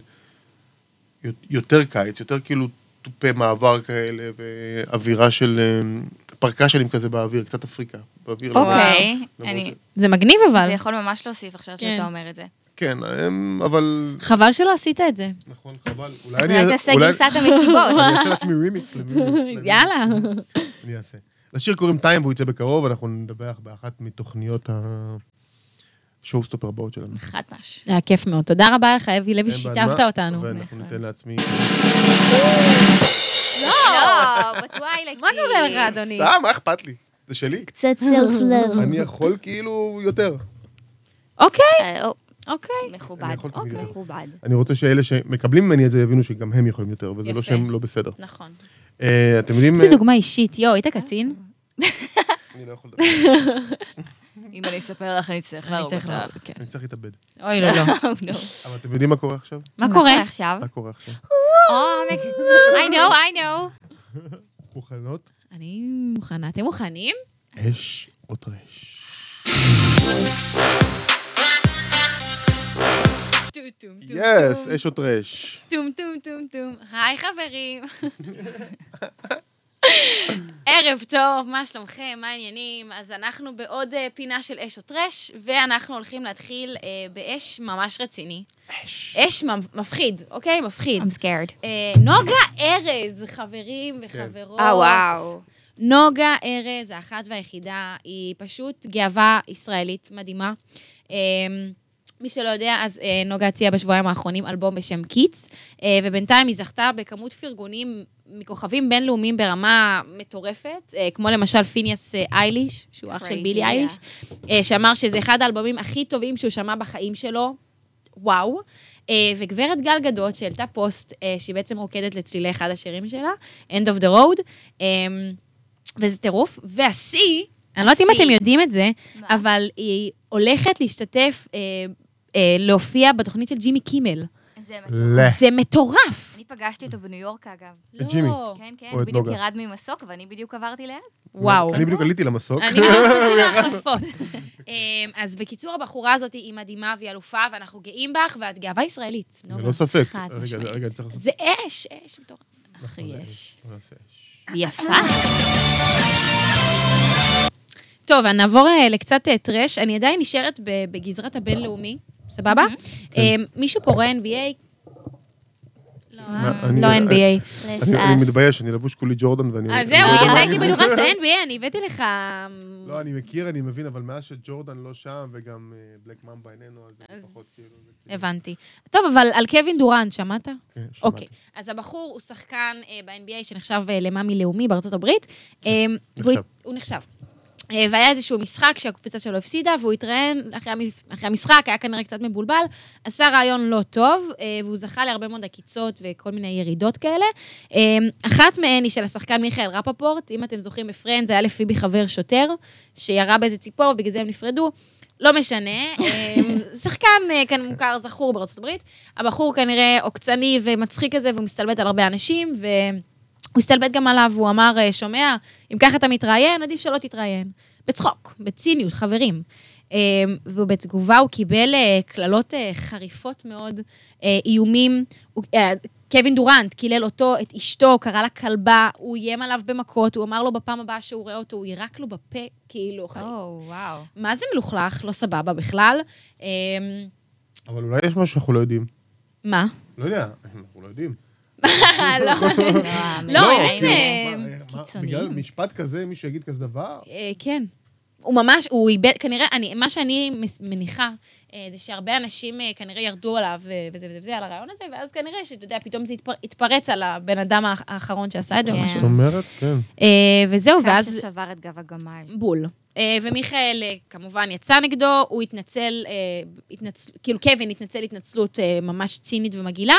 [SPEAKER 1] יותר קיץ, יותר כאילו תופי מעבר כאלה, ואווירה של אה, פרקשנים כזה באוויר, קצת אפריקה. באוויר. לא- למרות-
[SPEAKER 3] אוקיי,
[SPEAKER 1] למרות
[SPEAKER 3] אני-
[SPEAKER 1] ש-
[SPEAKER 2] זה מגניב אבל.
[SPEAKER 3] זה יכול ממש להוסיף עכשיו
[SPEAKER 2] כן.
[SPEAKER 3] שאתה אומר את זה.
[SPEAKER 1] כן, הם- אבל...
[SPEAKER 2] חבל שלא עשית את זה.
[SPEAKER 1] נכון, חבל. אולי
[SPEAKER 3] אז
[SPEAKER 1] אני...
[SPEAKER 3] אולי תעשה
[SPEAKER 1] אולי-
[SPEAKER 3] גרסת המסיבות.
[SPEAKER 1] אני אעשה לעצמי רימיקס למימיקס.
[SPEAKER 2] יאללה.
[SPEAKER 1] אני אעשה. לשיר קוראים טיים והוא יצא בקרוב, אנחנו נדווח באחת מתוכניות השואוסטופר הבאות שלנו.
[SPEAKER 3] חד מש.
[SPEAKER 2] היה כיף מאוד. תודה רבה לך, אבי לוי,
[SPEAKER 1] אין בעד
[SPEAKER 2] ששיתפת
[SPEAKER 1] כן, מה,
[SPEAKER 2] אותנו.
[SPEAKER 1] ואנחנו ניתן לעצמי...
[SPEAKER 3] לא, בטווילייט.
[SPEAKER 2] מה קורה לך, אדוני?
[SPEAKER 1] סתם, מה אכפת לי? זה שלי.
[SPEAKER 7] קצת סלף-לב.
[SPEAKER 1] אני יכול כאילו יותר.
[SPEAKER 2] אוקיי,
[SPEAKER 3] אוקיי.
[SPEAKER 2] אוקיי.
[SPEAKER 1] אני
[SPEAKER 3] מכובד.
[SPEAKER 1] יכול תמיד יותר.
[SPEAKER 3] מכובד.
[SPEAKER 1] אני רוצה שאלה שמקבלים ממני את זה יבינו שגם הם יכולים יותר, וזה לא
[SPEAKER 2] יפה.
[SPEAKER 1] שהם לא בסדר.
[SPEAKER 2] נכון.
[SPEAKER 1] אה, אתם יודעים...
[SPEAKER 2] איזה
[SPEAKER 1] אה,
[SPEAKER 2] דוגמה אישית. יואו, היית קצין?
[SPEAKER 1] אני לא יכול לדבר.
[SPEAKER 3] אם אני אספר לך, אני אצטרך
[SPEAKER 2] אני
[SPEAKER 3] להרוג
[SPEAKER 2] צריך
[SPEAKER 3] אותך.
[SPEAKER 2] להרוג, כן.
[SPEAKER 1] אני צריך להתאבד.
[SPEAKER 2] אוי, לא, לא.
[SPEAKER 3] Oh, no.
[SPEAKER 1] אבל אתם יודעים מה קורה עכשיו?
[SPEAKER 2] מה קורה?
[SPEAKER 3] עכשיו?
[SPEAKER 1] מה קורה עכשיו?
[SPEAKER 3] עומק. I know, I know.
[SPEAKER 1] מוכנות?
[SPEAKER 2] אני מוכנה. אתם מוכנים?
[SPEAKER 1] אש או טרש.
[SPEAKER 2] טום, טום, טום,
[SPEAKER 1] יס, אש או טרש.
[SPEAKER 2] טום, טום, טום, טום. היי, חברים. ערב טוב, מה שלומכם? מה העניינים? אז אנחנו בעוד אה, פינה של אש או טרש, ואנחנו הולכים להתחיל אה, באש ממש רציני. אש. אש ממ- מפחיד, אוקיי? מפחיד.
[SPEAKER 3] I'm scared.
[SPEAKER 2] אה, נוגה ארז, חברים וחברות.
[SPEAKER 3] אה, וואו.
[SPEAKER 2] נוגה ארז, האחת והיחידה, היא פשוט גאווה ישראלית מדהימה. אה, מי שלא יודע, אז אה, נוגה הציעה בשבועיים האחרונים אלבום בשם קיטס, אה, ובינתיים היא זכתה בכמות פרגונים מכוכבים בינלאומיים ברמה מטורפת, אה, כמו למשל פיניאס אה, אייליש, שהוא אח של
[SPEAKER 3] Crazy,
[SPEAKER 2] בילי
[SPEAKER 3] yeah.
[SPEAKER 2] אייליש, אה, שאמר שזה אחד האלבומים הכי טובים שהוא שמע בחיים שלו, וואו. אה, וגברת גל גדות, שהעלתה פוסט, אה, שהיא בעצם רוקדת לצלילי אחד השירים שלה, End of the Road, אה, וזה טירוף. והשיא, אני לא יודעת אם
[SPEAKER 3] השיא.
[SPEAKER 2] אתם יודעים את זה,
[SPEAKER 3] מה?
[SPEAKER 2] אבל היא הולכת להשתתף, אה, אה, להופיע בתוכנית של ג'ימי קימל.
[SPEAKER 3] זה מטורף.
[SPEAKER 1] לה.
[SPEAKER 2] זה מטורף.
[SPEAKER 3] אני פגשתי אותו בניו יורק, אגב.
[SPEAKER 1] את ג'ימי.
[SPEAKER 2] לא.
[SPEAKER 3] כן, כן,
[SPEAKER 1] או את
[SPEAKER 3] בדיוק
[SPEAKER 1] נוגה.
[SPEAKER 3] ירד ממסוק, ואני בדיוק עברתי ליד.
[SPEAKER 2] וואו.
[SPEAKER 1] אני בדיוק עליתי למסוק.
[SPEAKER 2] אני לא ממש עושה החלפות. אמ, אז בקיצור, הבחורה הזאת היא מדהימה והיא אלופה, ואנחנו גאים בך, ואת גאווה ישראלית. נוגה.
[SPEAKER 1] ללא לא ספק.
[SPEAKER 3] חד
[SPEAKER 1] רגע,
[SPEAKER 3] משמעית.
[SPEAKER 1] רגע, אני צריך לעשות...
[SPEAKER 2] זה אש, אש מטורף.
[SPEAKER 3] אחי, יש.
[SPEAKER 1] בוא נעשה אש.
[SPEAKER 3] יפה.
[SPEAKER 2] טוב, אז נעבור אה, לקצת אה, טרש. אני עדיין נשארת ב- בגזרת הבינלאומי, סבבה? אמ, מישהו פה רואה NBA? לא, אה?
[SPEAKER 1] אני-
[SPEAKER 2] לא
[SPEAKER 1] אה,
[SPEAKER 2] NBA.
[SPEAKER 3] Let's
[SPEAKER 1] אני אני
[SPEAKER 3] ask.
[SPEAKER 1] מתבייש, אני לבוש כולי ג'ורדן ואני...
[SPEAKER 2] אז
[SPEAKER 1] אני
[SPEAKER 2] אה, זהו,
[SPEAKER 1] לא יודע
[SPEAKER 2] בגלל
[SPEAKER 1] מה
[SPEAKER 2] זה
[SPEAKER 1] אני
[SPEAKER 2] הייתי
[SPEAKER 1] מבין.
[SPEAKER 2] בטוחה שאתה NBA, אני הבאתי לך... אמ,
[SPEAKER 1] לא, אני מכיר, אני מבין, אבל מאז שג'ורדן לא שם, וגם אה, בלק ממבה איננו, אז זה
[SPEAKER 2] אז-
[SPEAKER 1] פחות כאילו... זה כאילו-
[SPEAKER 2] לא. הבנתי. טוב, אבל על קווין דורנט, שמעת?
[SPEAKER 1] כן, שמעתי.
[SPEAKER 2] אוקיי. אז הבחור הוא שחקן אה, ב-NBA שנחשב אה, למאמי לאומי בארצות הברית. אה, והוא-
[SPEAKER 1] נחשב.
[SPEAKER 2] הוא נחשב. אה, והיה איזשהו משחק שהקבוצה שלו הפסידה, והוא התראיין אחרי, המפ... אחרי המשחק, היה כנראה קצת מבולבל, עשה רעיון לא טוב, אה, והוא זכה להרבה מאוד עקיצות וכל מיני ירידות כאלה. אה, אחת מהן היא של השחקן מיכאל רפפורט, אם אתם זוכרים בפרנד, זה היה לפיבי חבר שוטר, שירה באיזה ציפור, ובגלל זה הם נפרדו. לא משנה, אה, שחקן אה, כאן מוכר, זכור בארצות הברית. הבחור כנראה עוקצני ומצחיק כזה, והוא מסתלבט על הרבה אנשים, ו... הוא הסתלבט גם עליו, הוא אמר, אה, שומע, אם ככה אתה מתראיין, עדיף שלא תתראיין. בצחוק, בציניות, חברים. אה, ובתגובה הוא קיבל אה, קללות אה, חריפות מאוד, אה, איומים. הוא- אה, קווין דורנט קילל אותו, את אשתו, קרא לה כלבה, הוא איים עליו במכות, הוא אמר לו בפעם הבאה שהוא רואה אותו, הוא יירק לו בפה, כאילו, אחי.
[SPEAKER 3] או, וואו.
[SPEAKER 2] מה זה מלוכלך? לא סבבה בכלל. אה,
[SPEAKER 1] אבל אולי יש משהו שאנחנו לא יודעים.
[SPEAKER 2] מה?
[SPEAKER 1] לא יודע, אנחנו לא יודעים.
[SPEAKER 2] לא, לא, אין...
[SPEAKER 1] כאילו,
[SPEAKER 2] אה,
[SPEAKER 1] מה, מה,
[SPEAKER 3] קיצוניים.
[SPEAKER 1] בגלל משפט כזה, מישהו יגיד כזה דבר?
[SPEAKER 2] אה, כן. הוא ממש, הוא איבד, כנראה, אני, מה שאני מס- מניחה, אה, זה שהרבה אנשים אה, כנראה ירדו עליו אה, וזה וזה וזה, על הרעיון הזה, ואז כנראה שאתה יודע, פתאום זה התפר- התפרץ על הבן אדם האח- האחרון שעשה את זה או
[SPEAKER 3] כן.
[SPEAKER 2] משהו.
[SPEAKER 1] זאת אומרת, כן.
[SPEAKER 2] אה, וזהו,
[SPEAKER 3] קש
[SPEAKER 2] ואז
[SPEAKER 3] ששבר את גב הגמל.
[SPEAKER 2] בול. אה, ומיכאל אה, כמובן יצא נגדו, הוא התנצל, אה, התנצ... כאילו קווין התנצל התנצלות אה, ממש צינית ומגעילה,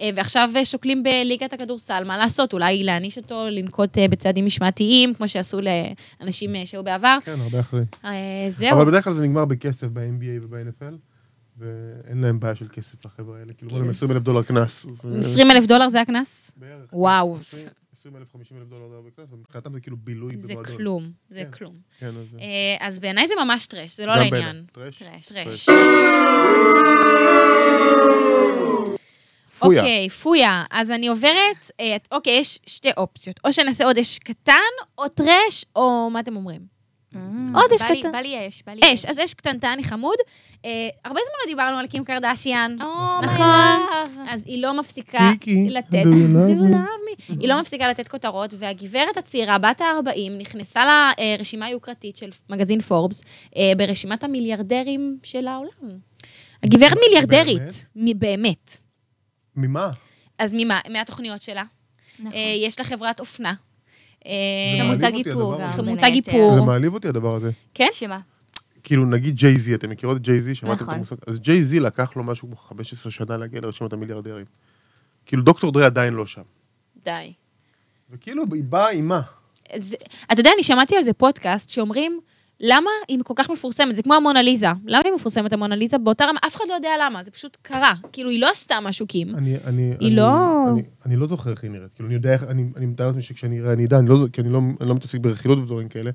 [SPEAKER 2] אה, ועכשיו אה, שוקלים בליגת הכדורסל, מה לעשות, אולי להעניש אותו, לנקוט אה, בצעדים משמעתיים, כמו שעשו לאנשים אה, שהיו בעבר.
[SPEAKER 1] כן, הרבה אחרי.
[SPEAKER 2] אה, זהו.
[SPEAKER 1] אבל בדרך כלל זה נגמר בכסף ב-NBA וב-NFL, ואין להם בעיה של כסף לחבר'ה האלה.
[SPEAKER 2] כן.
[SPEAKER 1] כאילו, אומרים 20 אלף דולר קנס.
[SPEAKER 2] 20 אלף דולר זה הקנס?
[SPEAKER 1] בערך. כן.
[SPEAKER 2] וואו.
[SPEAKER 1] 20 אלף, 50 אלף דולר בקנס, ומבחינתם זה כאילו בילוי
[SPEAKER 2] זה
[SPEAKER 1] במועדון.
[SPEAKER 2] כלום, זה
[SPEAKER 1] כן.
[SPEAKER 2] כלום.
[SPEAKER 1] כן, אז זה-
[SPEAKER 2] אה, אז בעיניי זה ממש טרש, זה לא
[SPEAKER 1] גם בעיניי.
[SPEAKER 2] לעניין.
[SPEAKER 1] טרש.
[SPEAKER 3] טרש.
[SPEAKER 2] טרש.
[SPEAKER 1] פויה.
[SPEAKER 2] אוקיי, פויה. אז אני עוברת, אה, אוקיי, יש שתי אופציות. או שנעשה עוד אש קטן, או טרש, או מה אתם אומרים? עוד אש
[SPEAKER 3] אה, בא לי-
[SPEAKER 2] קטן.
[SPEAKER 3] בא לי אש, בא לי
[SPEAKER 2] אש, אז אש קטנטן, היא חמוד. אה, הרבה זמן לא דיברנו על קים קרדשיאן.
[SPEAKER 3] או,
[SPEAKER 2] נכון. אז היא לא מפסיקה
[SPEAKER 1] קיקי,
[SPEAKER 2] לתת...
[SPEAKER 1] do you love me?
[SPEAKER 2] Do you love me? היא לא מפסיקה לתת כותרות, והגברת הצעירה, בת ה-40, נכנסה לרשימה היוקרתית של מגזין פורבס, אה, ברשימת המיליארדרים של העולם. הגברת מיליארדרית, מ- באמת.
[SPEAKER 1] ממה?
[SPEAKER 2] אז ממה? מהתוכניות שלה.
[SPEAKER 3] נכון.
[SPEAKER 2] אה, יש לה חברת אופנה. אה,
[SPEAKER 1] זה
[SPEAKER 3] יש לה
[SPEAKER 1] מעליב
[SPEAKER 3] מותג
[SPEAKER 1] אותי
[SPEAKER 3] איפור
[SPEAKER 1] הדבר
[SPEAKER 3] גם.
[SPEAKER 1] הזה.
[SPEAKER 2] מותג
[SPEAKER 3] בין היתר.
[SPEAKER 2] איפור.
[SPEAKER 1] זה מעליב אותי הדבר הזה.
[SPEAKER 2] כן?
[SPEAKER 3] שמה?
[SPEAKER 1] כאילו, נגיד ג'יי-זי, אתם מכירות את ג'יי-זי? שמעתם את
[SPEAKER 3] נכון.
[SPEAKER 1] המושג? אז ג'יי-זי לקח לו משהו כמו 15 שנה להגיע לרשימת המיליארדרים. כאילו, דוקטור דרי עדיין לא שם.
[SPEAKER 2] די.
[SPEAKER 1] וכאילו, היא באה עם מה?
[SPEAKER 2] זה- אתה יודע, אני שמעתי על זה פודקאסט שאומרים, למה היא כל כך מפורסמת? זה כמו המונליזה. למה היא מפורסמת, המונליזה? באותה רמה, אף אחד לא יודע למה, זה פשוט קרה. כאילו, היא לא עשתה משהו קים.
[SPEAKER 1] אני, אני,
[SPEAKER 2] היא
[SPEAKER 1] אני,
[SPEAKER 2] לא-
[SPEAKER 1] אני, אני לא זוכר איך היא נראית. כאילו, אני יודע איך, אני, אני מתאר לעצמי שכשאני אראה, אני אדע, אני לא, ז- כי אני לא, אני לא מתעסק ברכילות ודברים כאלה,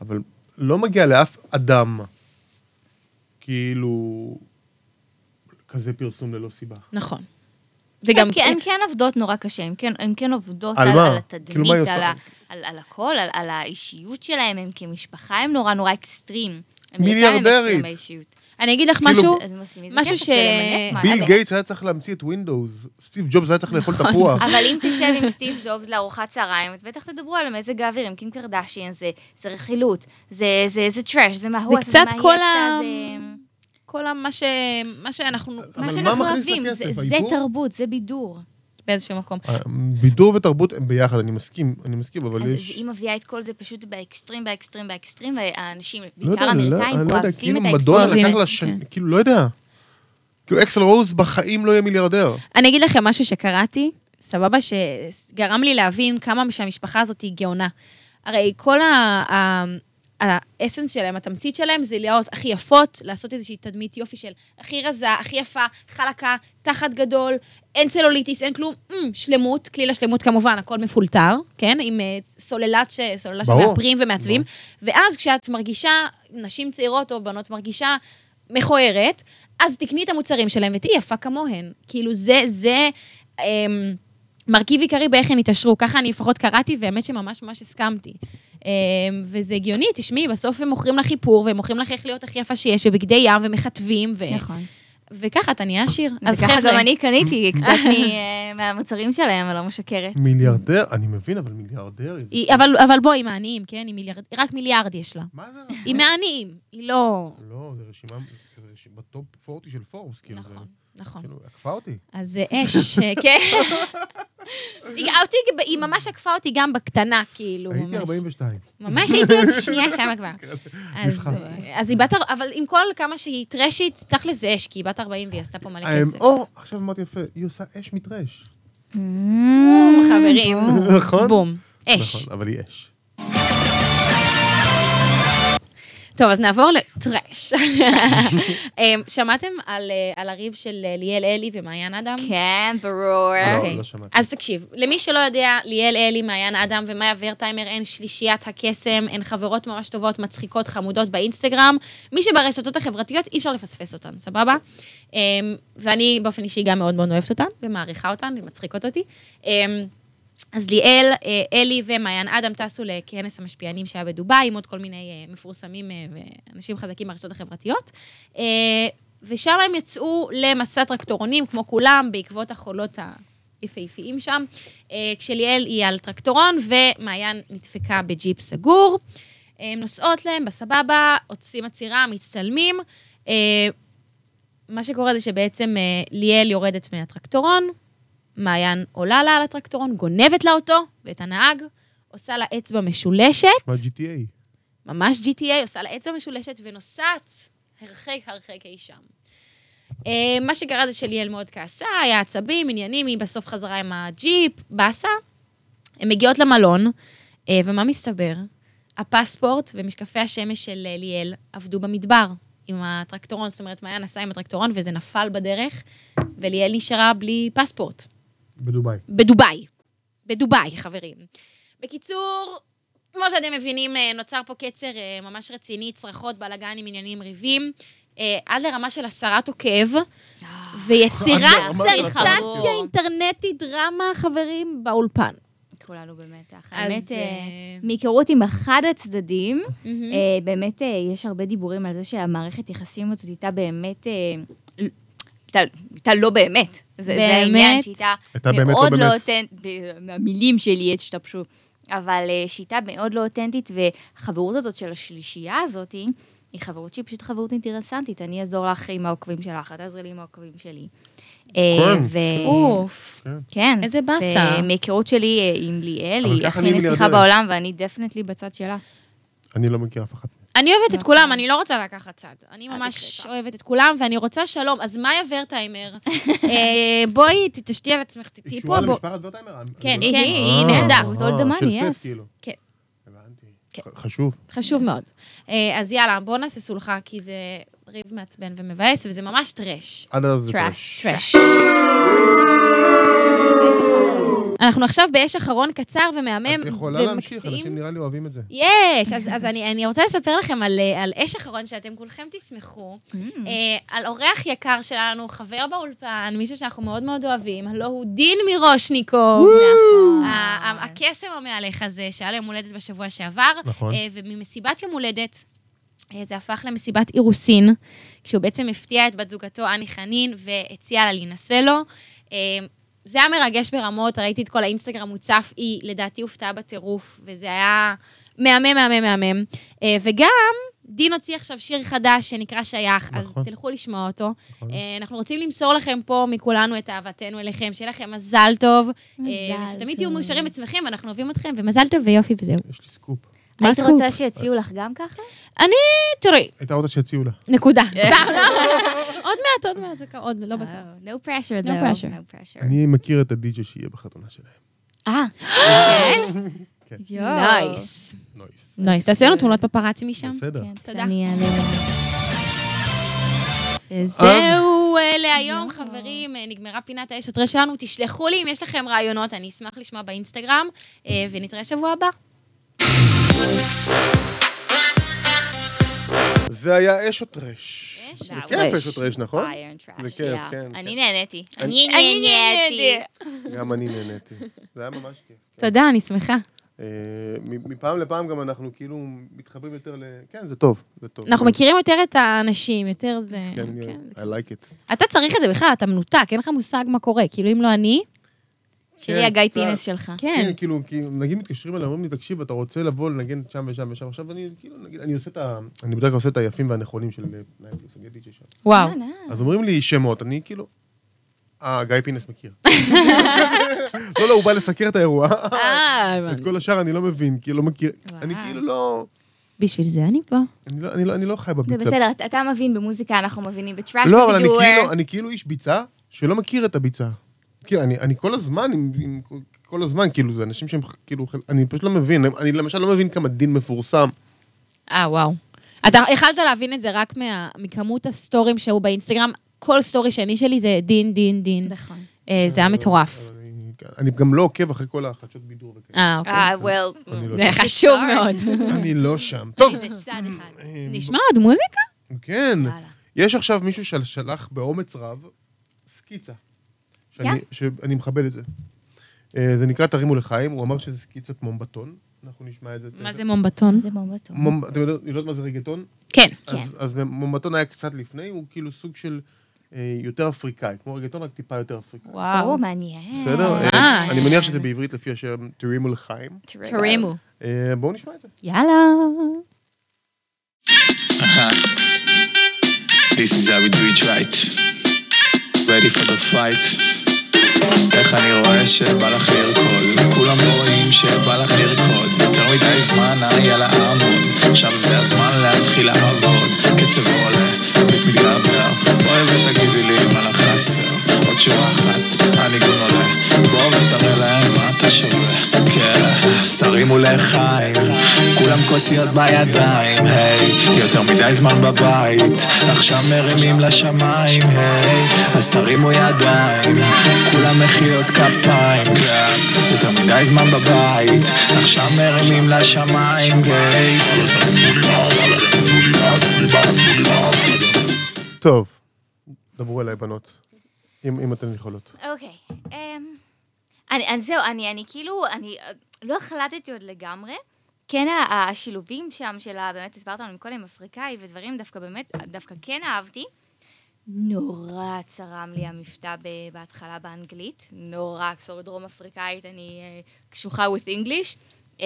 [SPEAKER 1] אבל לא מגיע לאף אדם, כאילו, כזה פרסום ללא סיבה.
[SPEAKER 2] נכון. וגם...
[SPEAKER 3] כן, הן כן עובדות נורא קשה, הן כן- הן כן עובדות
[SPEAKER 1] על
[SPEAKER 3] על
[SPEAKER 1] מה?
[SPEAKER 3] על
[SPEAKER 1] כאילו, מה היא
[SPEAKER 3] התדמית,
[SPEAKER 1] עושה?
[SPEAKER 3] על ה- על על הכל, על- על האישיות שלהם, הם כמשפחה, הם נורא נורא אקסטרים. אמריקאים הם
[SPEAKER 1] מיליארדרית.
[SPEAKER 3] אקסטרים באישיות.
[SPEAKER 2] אני אגיד לך
[SPEAKER 1] כאילו-
[SPEAKER 2] משהו,
[SPEAKER 3] אז הם עושים מזה
[SPEAKER 2] משהו
[SPEAKER 3] כסף,
[SPEAKER 2] ש-
[SPEAKER 3] זה למנף מה-
[SPEAKER 1] ביל
[SPEAKER 3] אבל-
[SPEAKER 1] גייטס היה צריך להמציא את ווינדוס, סטיב ג'ובס היה צריך לאכול
[SPEAKER 3] נכון.
[SPEAKER 1] תפוח.
[SPEAKER 3] אבל אם תשב עם סטיב זובס לארוחת צהריים, את בטח תדברו על מזג האוויר, עם קים קרדשיין, זה זה רכילות, זה- זה זה טראש, זה מה
[SPEAKER 2] זה
[SPEAKER 3] הוא עשה, זה מה
[SPEAKER 2] קצת
[SPEAKER 3] היא
[SPEAKER 2] כל
[SPEAKER 3] עשתה,
[SPEAKER 2] ה-
[SPEAKER 3] זה...
[SPEAKER 2] כל ה- מה ש- מה שאנחנו...
[SPEAKER 1] אבל
[SPEAKER 3] מה
[SPEAKER 1] מה
[SPEAKER 3] שאנחנו
[SPEAKER 1] מכניס
[SPEAKER 3] אוהבים,
[SPEAKER 1] לכסף?
[SPEAKER 3] זה- זה
[SPEAKER 1] האיפור?
[SPEAKER 3] תרבות, זה בידור.
[SPEAKER 2] באיזשהו מקום.
[SPEAKER 1] אה, בידור ותרבות הם ביחד, אני מסכים, אני מסכים, אבל
[SPEAKER 3] אז אז
[SPEAKER 1] יש...
[SPEAKER 3] היא מביאה את כל זה פשוט באקסטרים, באקסטרים, באקסטרים, והאנשים,
[SPEAKER 1] לא יודע,
[SPEAKER 3] בעיקר האמריקאים,
[SPEAKER 1] אני לא יודע,
[SPEAKER 3] אוהבים
[SPEAKER 1] כאילו
[SPEAKER 3] את כן.
[SPEAKER 1] מדונה
[SPEAKER 3] האקסטרים.
[SPEAKER 2] האקסטרים.
[SPEAKER 1] לקח לה שנים, כאילו, לא יודע. כאילו, אקסל רוז בחיים לא יהיה מיליארדר.
[SPEAKER 2] אני אגיד לכם משהו שקראתי, סבבה? שגרם לי להבין כמה שהמשפחה הזאת היא גאונה. הרי כל ה- ה- האסנס שלהם, התמצית שלהם, זה להיות הכי יפות, לעשות איזושהי תדמית יופי של הכי רזה, הכי יפה, חלקה, תחת גדול, אין צלוליטיס, אין כלום, אמ, שלמות, כליל השלמות כמובן, הכל מפולטר, כן? עם אה, סוללת ש... סוללה של
[SPEAKER 1] ברור.
[SPEAKER 2] מאפרים ומעצבים.
[SPEAKER 3] נכון.
[SPEAKER 2] ואז כשאת מרגישה, נשים צעירות או בנות מרגישה מכוערת, אז תקני את המוצרים שלהם ותהיי יפה כמוהן. כאילו, זה, זה אמ, מרכיב עיקרי באיך הן התעשרו. ככה אני לפחות קראתי, והאמת שממש ממש הסכמתי. אמ, וזה הגיוני, תשמעי, בסוף הם מוכרים לך איפור, והם מוכרים לך איך להיות הכי יפה שיש, ובגדי ים, ומכתבים, ו...
[SPEAKER 3] נכון.
[SPEAKER 2] וככה אתה נהיה עשיר. אז
[SPEAKER 3] וככה גם
[SPEAKER 2] חבר'ה,
[SPEAKER 3] אני קניתי קצת מ- אה, מהמוצרים שלהם, הלא משקרת.
[SPEAKER 1] מיליארדר, אני מבין, אבל מיליארדרית.
[SPEAKER 2] היא- אבל, אבל בואי, מעניים, כן? היא מיליארד, רק מיליארד יש לה.
[SPEAKER 1] מה זה?
[SPEAKER 2] היא מהעניים, היא לא...
[SPEAKER 1] לא, זה רשימה, זה רשימה בטופ 40 של פורס, כאילו, זה-
[SPEAKER 2] נכון, נכון.
[SPEAKER 1] כאילו, עקפה אותי.
[SPEAKER 2] אז אה, אש, אה, כן. היא- אותי, היא ממש עקפה אותי גם בקטנה, כאילו,
[SPEAKER 1] הייתי
[SPEAKER 2] ממש.
[SPEAKER 1] 42.
[SPEAKER 2] ממש הייתי עוד שנייה שמה כבר. אז-
[SPEAKER 1] נבחר.
[SPEAKER 2] אז היא בת... אר- אבל עם כל כמה שהיא טרשית, תכל'ס זה אש, כי היא בת 40 והיא עשתה פה מלא כסף.
[SPEAKER 1] או, עכשיו אמרתי יפה, היא עושה אש מטרש.
[SPEAKER 2] בום, חברים.
[SPEAKER 1] נכון?
[SPEAKER 2] בום. אש.
[SPEAKER 1] נכון, אבל היא אש.
[SPEAKER 2] טוב, אז נעבור לטרש. אמ, שמעתם על, אה, על הריב של אה, ליאל אלי ומעיין אדם?
[SPEAKER 3] כן, ברור.
[SPEAKER 1] לא.
[SPEAKER 2] אוקיי.
[SPEAKER 1] שמעתי.
[SPEAKER 2] אז תקשיב, למי שלא יודע, ליאל אלי, מעיין אדם ומאיה ורטהיימר הן שלישיית הקסם, הן חברות ממש טובות, מצחיקות, חמודות באינסטגרם. מי שברשתות החברתיות, אי אפשר לפספס אותן, סבבה? אמ, ואני באופן אישי גם מאוד מאוד אוהבת אותן, ומעריכה אותן, הן מצחיקות אותי. אמ, אז ליאל, אה, אלי ומעיין אדם טסו לכנס המשפיענים שהיה בדובאי, עם עוד כל מיני אה, מפורסמים אה, ואנשים חזקים ברשתות החברתיות. אה, ושם הם יצאו למסע טרקטורונים, כמו כולם, בעקבות החולות היפהפיים שם. אה, כשליאל היא על טרקטורון, ומעיין נדפקה בג'יפ סגור. אה, הן נוסעות להם בסבבה, עושים עצירה, מצטלמים. אה, מה שקורה זה שבעצם אה, ליאל יורדת מהטרקטורון, מעיין עולה לה על הטרקטורון, גונבת לה אותו ואת הנהג, עושה לה אצבע משולשת,
[SPEAKER 1] מה GTA?
[SPEAKER 2] ממש GTA, עושה לה אצבע משולשת ונוסעת הרחק הרחק אי שם. אה, מה שקרה זה שליאל מאוד כעסה, היה עצבים, עניינים, היא בסוף חזרה עם הג'יפ, באסה. הן מגיעות למלון, אה, ומה מסתבר? הפספורט ומשקפי השמש של אה, ליאל עבדו במדבר עם הטרקטורון, זאת אומרת, מעיין נסעה עם הטרקטורון וזה נפל בדרך, וליאל נשארה בלי פספורט.
[SPEAKER 1] בדובאי.
[SPEAKER 2] בדובאי. בדובאי, חברים. בקיצור, כמו שאתם מבינים, אה, נוצר פה קצר אה, ממש רציני, צרחות, בלאגנים, עניינים, ריבים, אה, עד לרמה של הסרת עוקב, ויצירת
[SPEAKER 1] אה, עד לרמה של הסרת עוקב.
[SPEAKER 2] סנסציה אינטרנטית, דרמה, חברים, באולפן.
[SPEAKER 3] כולנו במתח.
[SPEAKER 2] אז,
[SPEAKER 3] האמת, אה,
[SPEAKER 2] אה,
[SPEAKER 3] מהיכרות עם אחד הצדדים, אה, באמת אה, יש הרבה דיבורים על זה שהמערכת יחסים הזאת הייתה באמת... אה, ל- הייתה- הייתה לא באמת. זה- זה
[SPEAKER 2] באמת?
[SPEAKER 3] העניין, שהייתה
[SPEAKER 1] הייתה באמת לא
[SPEAKER 3] מאוד
[SPEAKER 1] באמת.
[SPEAKER 3] לא אותנטית, המילים שלי השתבשו, אבל אה, שהייתה מאוד לא אותנטית, והחברות הזאת של השלישייה הזאת, היא חברות שהיא פשוט חברות אינטרסנטית. אני אעזור לך עם העוקבים שלך, את תעזרי לי עם העוקבים שלי. אה,
[SPEAKER 1] כן.
[SPEAKER 3] ו-
[SPEAKER 2] אוף.
[SPEAKER 3] כן.
[SPEAKER 2] איזה באסה.
[SPEAKER 3] ומהיכרות שלי אה, עם ליאל,
[SPEAKER 1] אבל
[SPEAKER 3] היא
[SPEAKER 1] ככה
[SPEAKER 3] הכי
[SPEAKER 1] אני
[SPEAKER 3] נסיכה
[SPEAKER 1] מיליארדרית.
[SPEAKER 3] בעולם, ואני דפנטלי בצד שלה.
[SPEAKER 1] אני לא מכיר אף אחת.
[SPEAKER 2] אני אוהבת
[SPEAKER 1] נכון.
[SPEAKER 2] את כולם, אני לא רוצה לקחת צד. אני ממש אוהבת את כולם, ואני רוצה שלום. אז מאיה ורטהיימר, אה, בואי, תתעשתי על עצמך,
[SPEAKER 1] היא
[SPEAKER 2] תתהיי פה.
[SPEAKER 1] קשורה
[SPEAKER 2] בוא-
[SPEAKER 1] למשפחת ורטהיימר?
[SPEAKER 2] כן,
[SPEAKER 1] אני לא- אה,
[SPEAKER 2] כן, היא נכדה.
[SPEAKER 1] אה,
[SPEAKER 3] Old the money,
[SPEAKER 1] של
[SPEAKER 3] yes.
[SPEAKER 1] סטף, כאילו.
[SPEAKER 2] כן.
[SPEAKER 1] הבנתי.
[SPEAKER 2] כן.
[SPEAKER 1] ח- חשוב.
[SPEAKER 2] חשוב מאוד. אה, אז יאללה, בוא נעשה סולחה, כי זה ריב מעצבן ומבאס, וזה ממש טרש.
[SPEAKER 1] עד אז זה
[SPEAKER 3] Trash.
[SPEAKER 1] טרש.
[SPEAKER 2] טרש. אנחנו עכשיו באש אחרון קצר ומהמם
[SPEAKER 1] את יכולה להמשיך, אנשים
[SPEAKER 2] ומקסים.
[SPEAKER 1] נראה לי אוהבים את זה.
[SPEAKER 2] יש! אז, אז אני, אני רוצה לספר לכם על, אה, על אש אחרון שאתם כולכם תשמחו, אה, על אורח יקר שלנו, חבר באולפן, מישהו שאנחנו מאוד מאוד אוהבים, הלו הוא דין מירושניקוב. ה- ה- הקסם המהלך הזה, שהיה לו יום הולדת בשבוע שעבר,
[SPEAKER 1] נכון.
[SPEAKER 2] אה, וממסיבת יום הולדת, אה, זה הפך למסיבת אירוסין, כשהוא בעצם הפתיע את בת זוגתו, אני חנין, והציע לה להינשא לו. אה, זה היה מרגש ברמות, ראיתי את כל האינסטגרם מוצף, היא לדעתי הופתעה בטירוף, וזה היה מהמם, מהמם, מהמם. אה, וגם, דין הוציא עכשיו שיר חדש שנקרא שייך, אז
[SPEAKER 1] נכון.
[SPEAKER 2] תלכו לשמוע אותו. אה, אנחנו רוצים למסור לכם פה מכולנו את אהבתנו אליכם, שיהיה לכם מזל טוב. מזל
[SPEAKER 3] מזל
[SPEAKER 2] ושתמיד
[SPEAKER 3] טוב.
[SPEAKER 2] תהיו מאושרים וצמחים, ואנחנו אוהבים אתכם, ומזל טוב ויופי וזהו.
[SPEAKER 1] יש לי סקופ.
[SPEAKER 2] מה
[SPEAKER 3] היית
[SPEAKER 2] הסקופ?
[SPEAKER 3] רוצה שיציעו לך גם ככה?
[SPEAKER 2] אני, תראי,
[SPEAKER 1] הייתה רוצה שיציעו לה.
[SPEAKER 2] נקודה. סתם, לא. עוד מעט, עוד מעט, בקרוב, עוד לא בקרוב.
[SPEAKER 3] אה, No pressure,
[SPEAKER 2] No pressure.
[SPEAKER 3] No pressure.
[SPEAKER 1] אני מכיר את הדי-ג'יי שיהיה בחתונה שלהם.
[SPEAKER 2] אה,
[SPEAKER 1] כן?
[SPEAKER 3] כן. יואו.
[SPEAKER 2] נייס.
[SPEAKER 1] נויס.
[SPEAKER 2] נייס, תעשה לנו תמונות פפראצי משם.
[SPEAKER 1] בסדר.
[SPEAKER 2] תודה.
[SPEAKER 3] שאני אעלה.
[SPEAKER 2] וזהו אה, להיום, חברים. אה, נגמרה פינת האש הטרש שלנו. תשלחו לי אם יש לכם רעיונות, אני אשמח לשמוע באינסטגרם, אה, ונתראה שבוע הבא.
[SPEAKER 1] זה היה אש או טרש.
[SPEAKER 2] אש
[SPEAKER 1] זה
[SPEAKER 2] או
[SPEAKER 1] כיף אש או טרש, נכון?
[SPEAKER 3] Iron trash,
[SPEAKER 1] זה כיף,
[SPEAKER 3] yeah.
[SPEAKER 1] כן,
[SPEAKER 3] אני
[SPEAKER 1] כן.
[SPEAKER 3] נהניתי.
[SPEAKER 1] אני-
[SPEAKER 3] אני נהניתי.
[SPEAKER 1] גם אני נהניתי. זה היה ממש כיף.
[SPEAKER 2] תודה, אני שמחה.
[SPEAKER 1] אה, מ- מפעם לפעם גם אנחנו כאילו מתחברים יותר ל... כן, זה טוב, זה טוב.
[SPEAKER 2] אנחנו מכירים יותר את האנשים, יותר זה...
[SPEAKER 1] כן,
[SPEAKER 2] כן.
[SPEAKER 1] I like it.
[SPEAKER 2] אתה צריך את זה בכלל, אתה מנותק, אין לך מושג מה קורה. כאילו, אם לא אני...
[SPEAKER 3] שלי הגיא
[SPEAKER 1] קצת.
[SPEAKER 3] פינס שלך.
[SPEAKER 2] כן.
[SPEAKER 1] כן, כאילו, כאילו, נגיד מתקשרים אליי, אומרים לי, תקשיב, אתה רוצה לבוא לנגן שם ושם ושם, עכשיו אני, כאילו, נגיד, אני עושה את ה... אני בדרך כלל עושה את היפים והנכונים של פנאי פלוס, אני די-ג'יי שם.
[SPEAKER 2] וואו.
[SPEAKER 1] אז אומרים לי שמות, אני כאילו... אה, גיא פינס מכיר. לא, לא, הוא בא לסקר את האירוע.
[SPEAKER 2] אה,
[SPEAKER 1] את
[SPEAKER 2] הבנתי.
[SPEAKER 1] כל השאר אני לא מבין, כי לא מכיר. אני כאילו לא...
[SPEAKER 2] בשביל זה אני פה.
[SPEAKER 1] אני לא- אני לא- אני לא חי
[SPEAKER 3] זה
[SPEAKER 1] בביצה.
[SPEAKER 3] בסדר, אה. אתה- אתה מבין במוזיקה, אנחנו מבינים בטראש.
[SPEAKER 1] לא, אבל אני כאילו, אני כאילו איש ביצה שלא מכיר את הביצה. כאילו, אני, אני כל הזמן, עם, עם, כל הזמן, כאילו, זה אנשים שהם, כאילו, חל- אני פשוט לא מבין. אני למשל לא מבין כמה דין מפורסם.
[SPEAKER 2] אה, וואו. אתה יכלת להבין את זה רק מה- מכמות הסטורים שהיו באינסטגרם. כל סטורי שני שלי זה דין, דין, דין.
[SPEAKER 3] נכון.
[SPEAKER 2] אה, זה היה מטורף.
[SPEAKER 1] אבל אני, אני גם לא עוקב אחרי כל החדשות בידור וכאלה.
[SPEAKER 2] אה, אוקיי.
[SPEAKER 3] אה, well,
[SPEAKER 1] אני לא
[SPEAKER 2] זה
[SPEAKER 1] שם.
[SPEAKER 2] חשוב מאוד.
[SPEAKER 1] אני לא שם. טוב,
[SPEAKER 3] זה צד אחד.
[SPEAKER 1] אה,
[SPEAKER 2] נשמע עוד מוזיקה?
[SPEAKER 1] כן.
[SPEAKER 3] יאללה.
[SPEAKER 1] יש עכשיו מישהו ששלח באומץ רב סקיצה. שאני,
[SPEAKER 3] יא.
[SPEAKER 1] שאני מכבד את זה. אה, זה נקרא תרימו לחיים, הוא אמר שזה סקיצת מומבטון. אנחנו נשמע את זה.
[SPEAKER 2] מה זה מומבטון?
[SPEAKER 3] זה בומבה טוב.
[SPEAKER 1] מומ... אתם יודעות יודעות מה זה רגטון?
[SPEAKER 2] כן.
[SPEAKER 1] אז, אז מומבטון היה קצת לפני, הוא כאילו סוג של אה, יותר אפריקאי, כמו רגטון, רק טיפה יותר אפריקאי.
[SPEAKER 2] וואו.
[SPEAKER 3] או, מעניין.
[SPEAKER 1] בסדר? אה, אני מניח שזה בעברית לפי השם תרימו לחיים.
[SPEAKER 2] תרימו.
[SPEAKER 1] אה, בואו נשמע את זה.
[SPEAKER 2] יאללה.
[SPEAKER 4] This is how we do it right. Ready for the fight. איך אני רואה שבא לך לרקוד, כולם רואים שבא לך לרקוד, יותר מדי זמן היה לה עמוד, עכשיו זה הזמן להתחיל לעבוד, קצב עולה, בית מתגבר, בואי ותגידי לי מה לך חסר, עוד שורה אחת, אני גם עולה, בואו ותראה להם מה אתה שווה, כן, אז תרימו לחיים, כולם כוסיות בידיים, היי, יותר מדי זמן בבית, עכשיו מרימים לשמיים, היי, אז תרימו ידיים, כולם מחיאות כפיים, כן, יותר מדי זמן בבית, עכשיו מרימים לשמיים, היי.
[SPEAKER 1] טוב, דברו אליי, בנות, אם, אם אתן יכולות.
[SPEAKER 3] אוקיי. אמ, אני, אז זהו, אני, אני כאילו, אני אה, לא החלטתי עוד לגמרי. כן, ה- ה- השילובים שם של ה... באמת, הסברת לנו קודם, אפריקאי ודברים, דווקא באמת, דווקא כן אהבתי. נורא צרם לי המבטא ב- בהתחלה באנגלית. נורא, כשאור דרום אפריקאית, אני אה, קשוחה with English. אמ,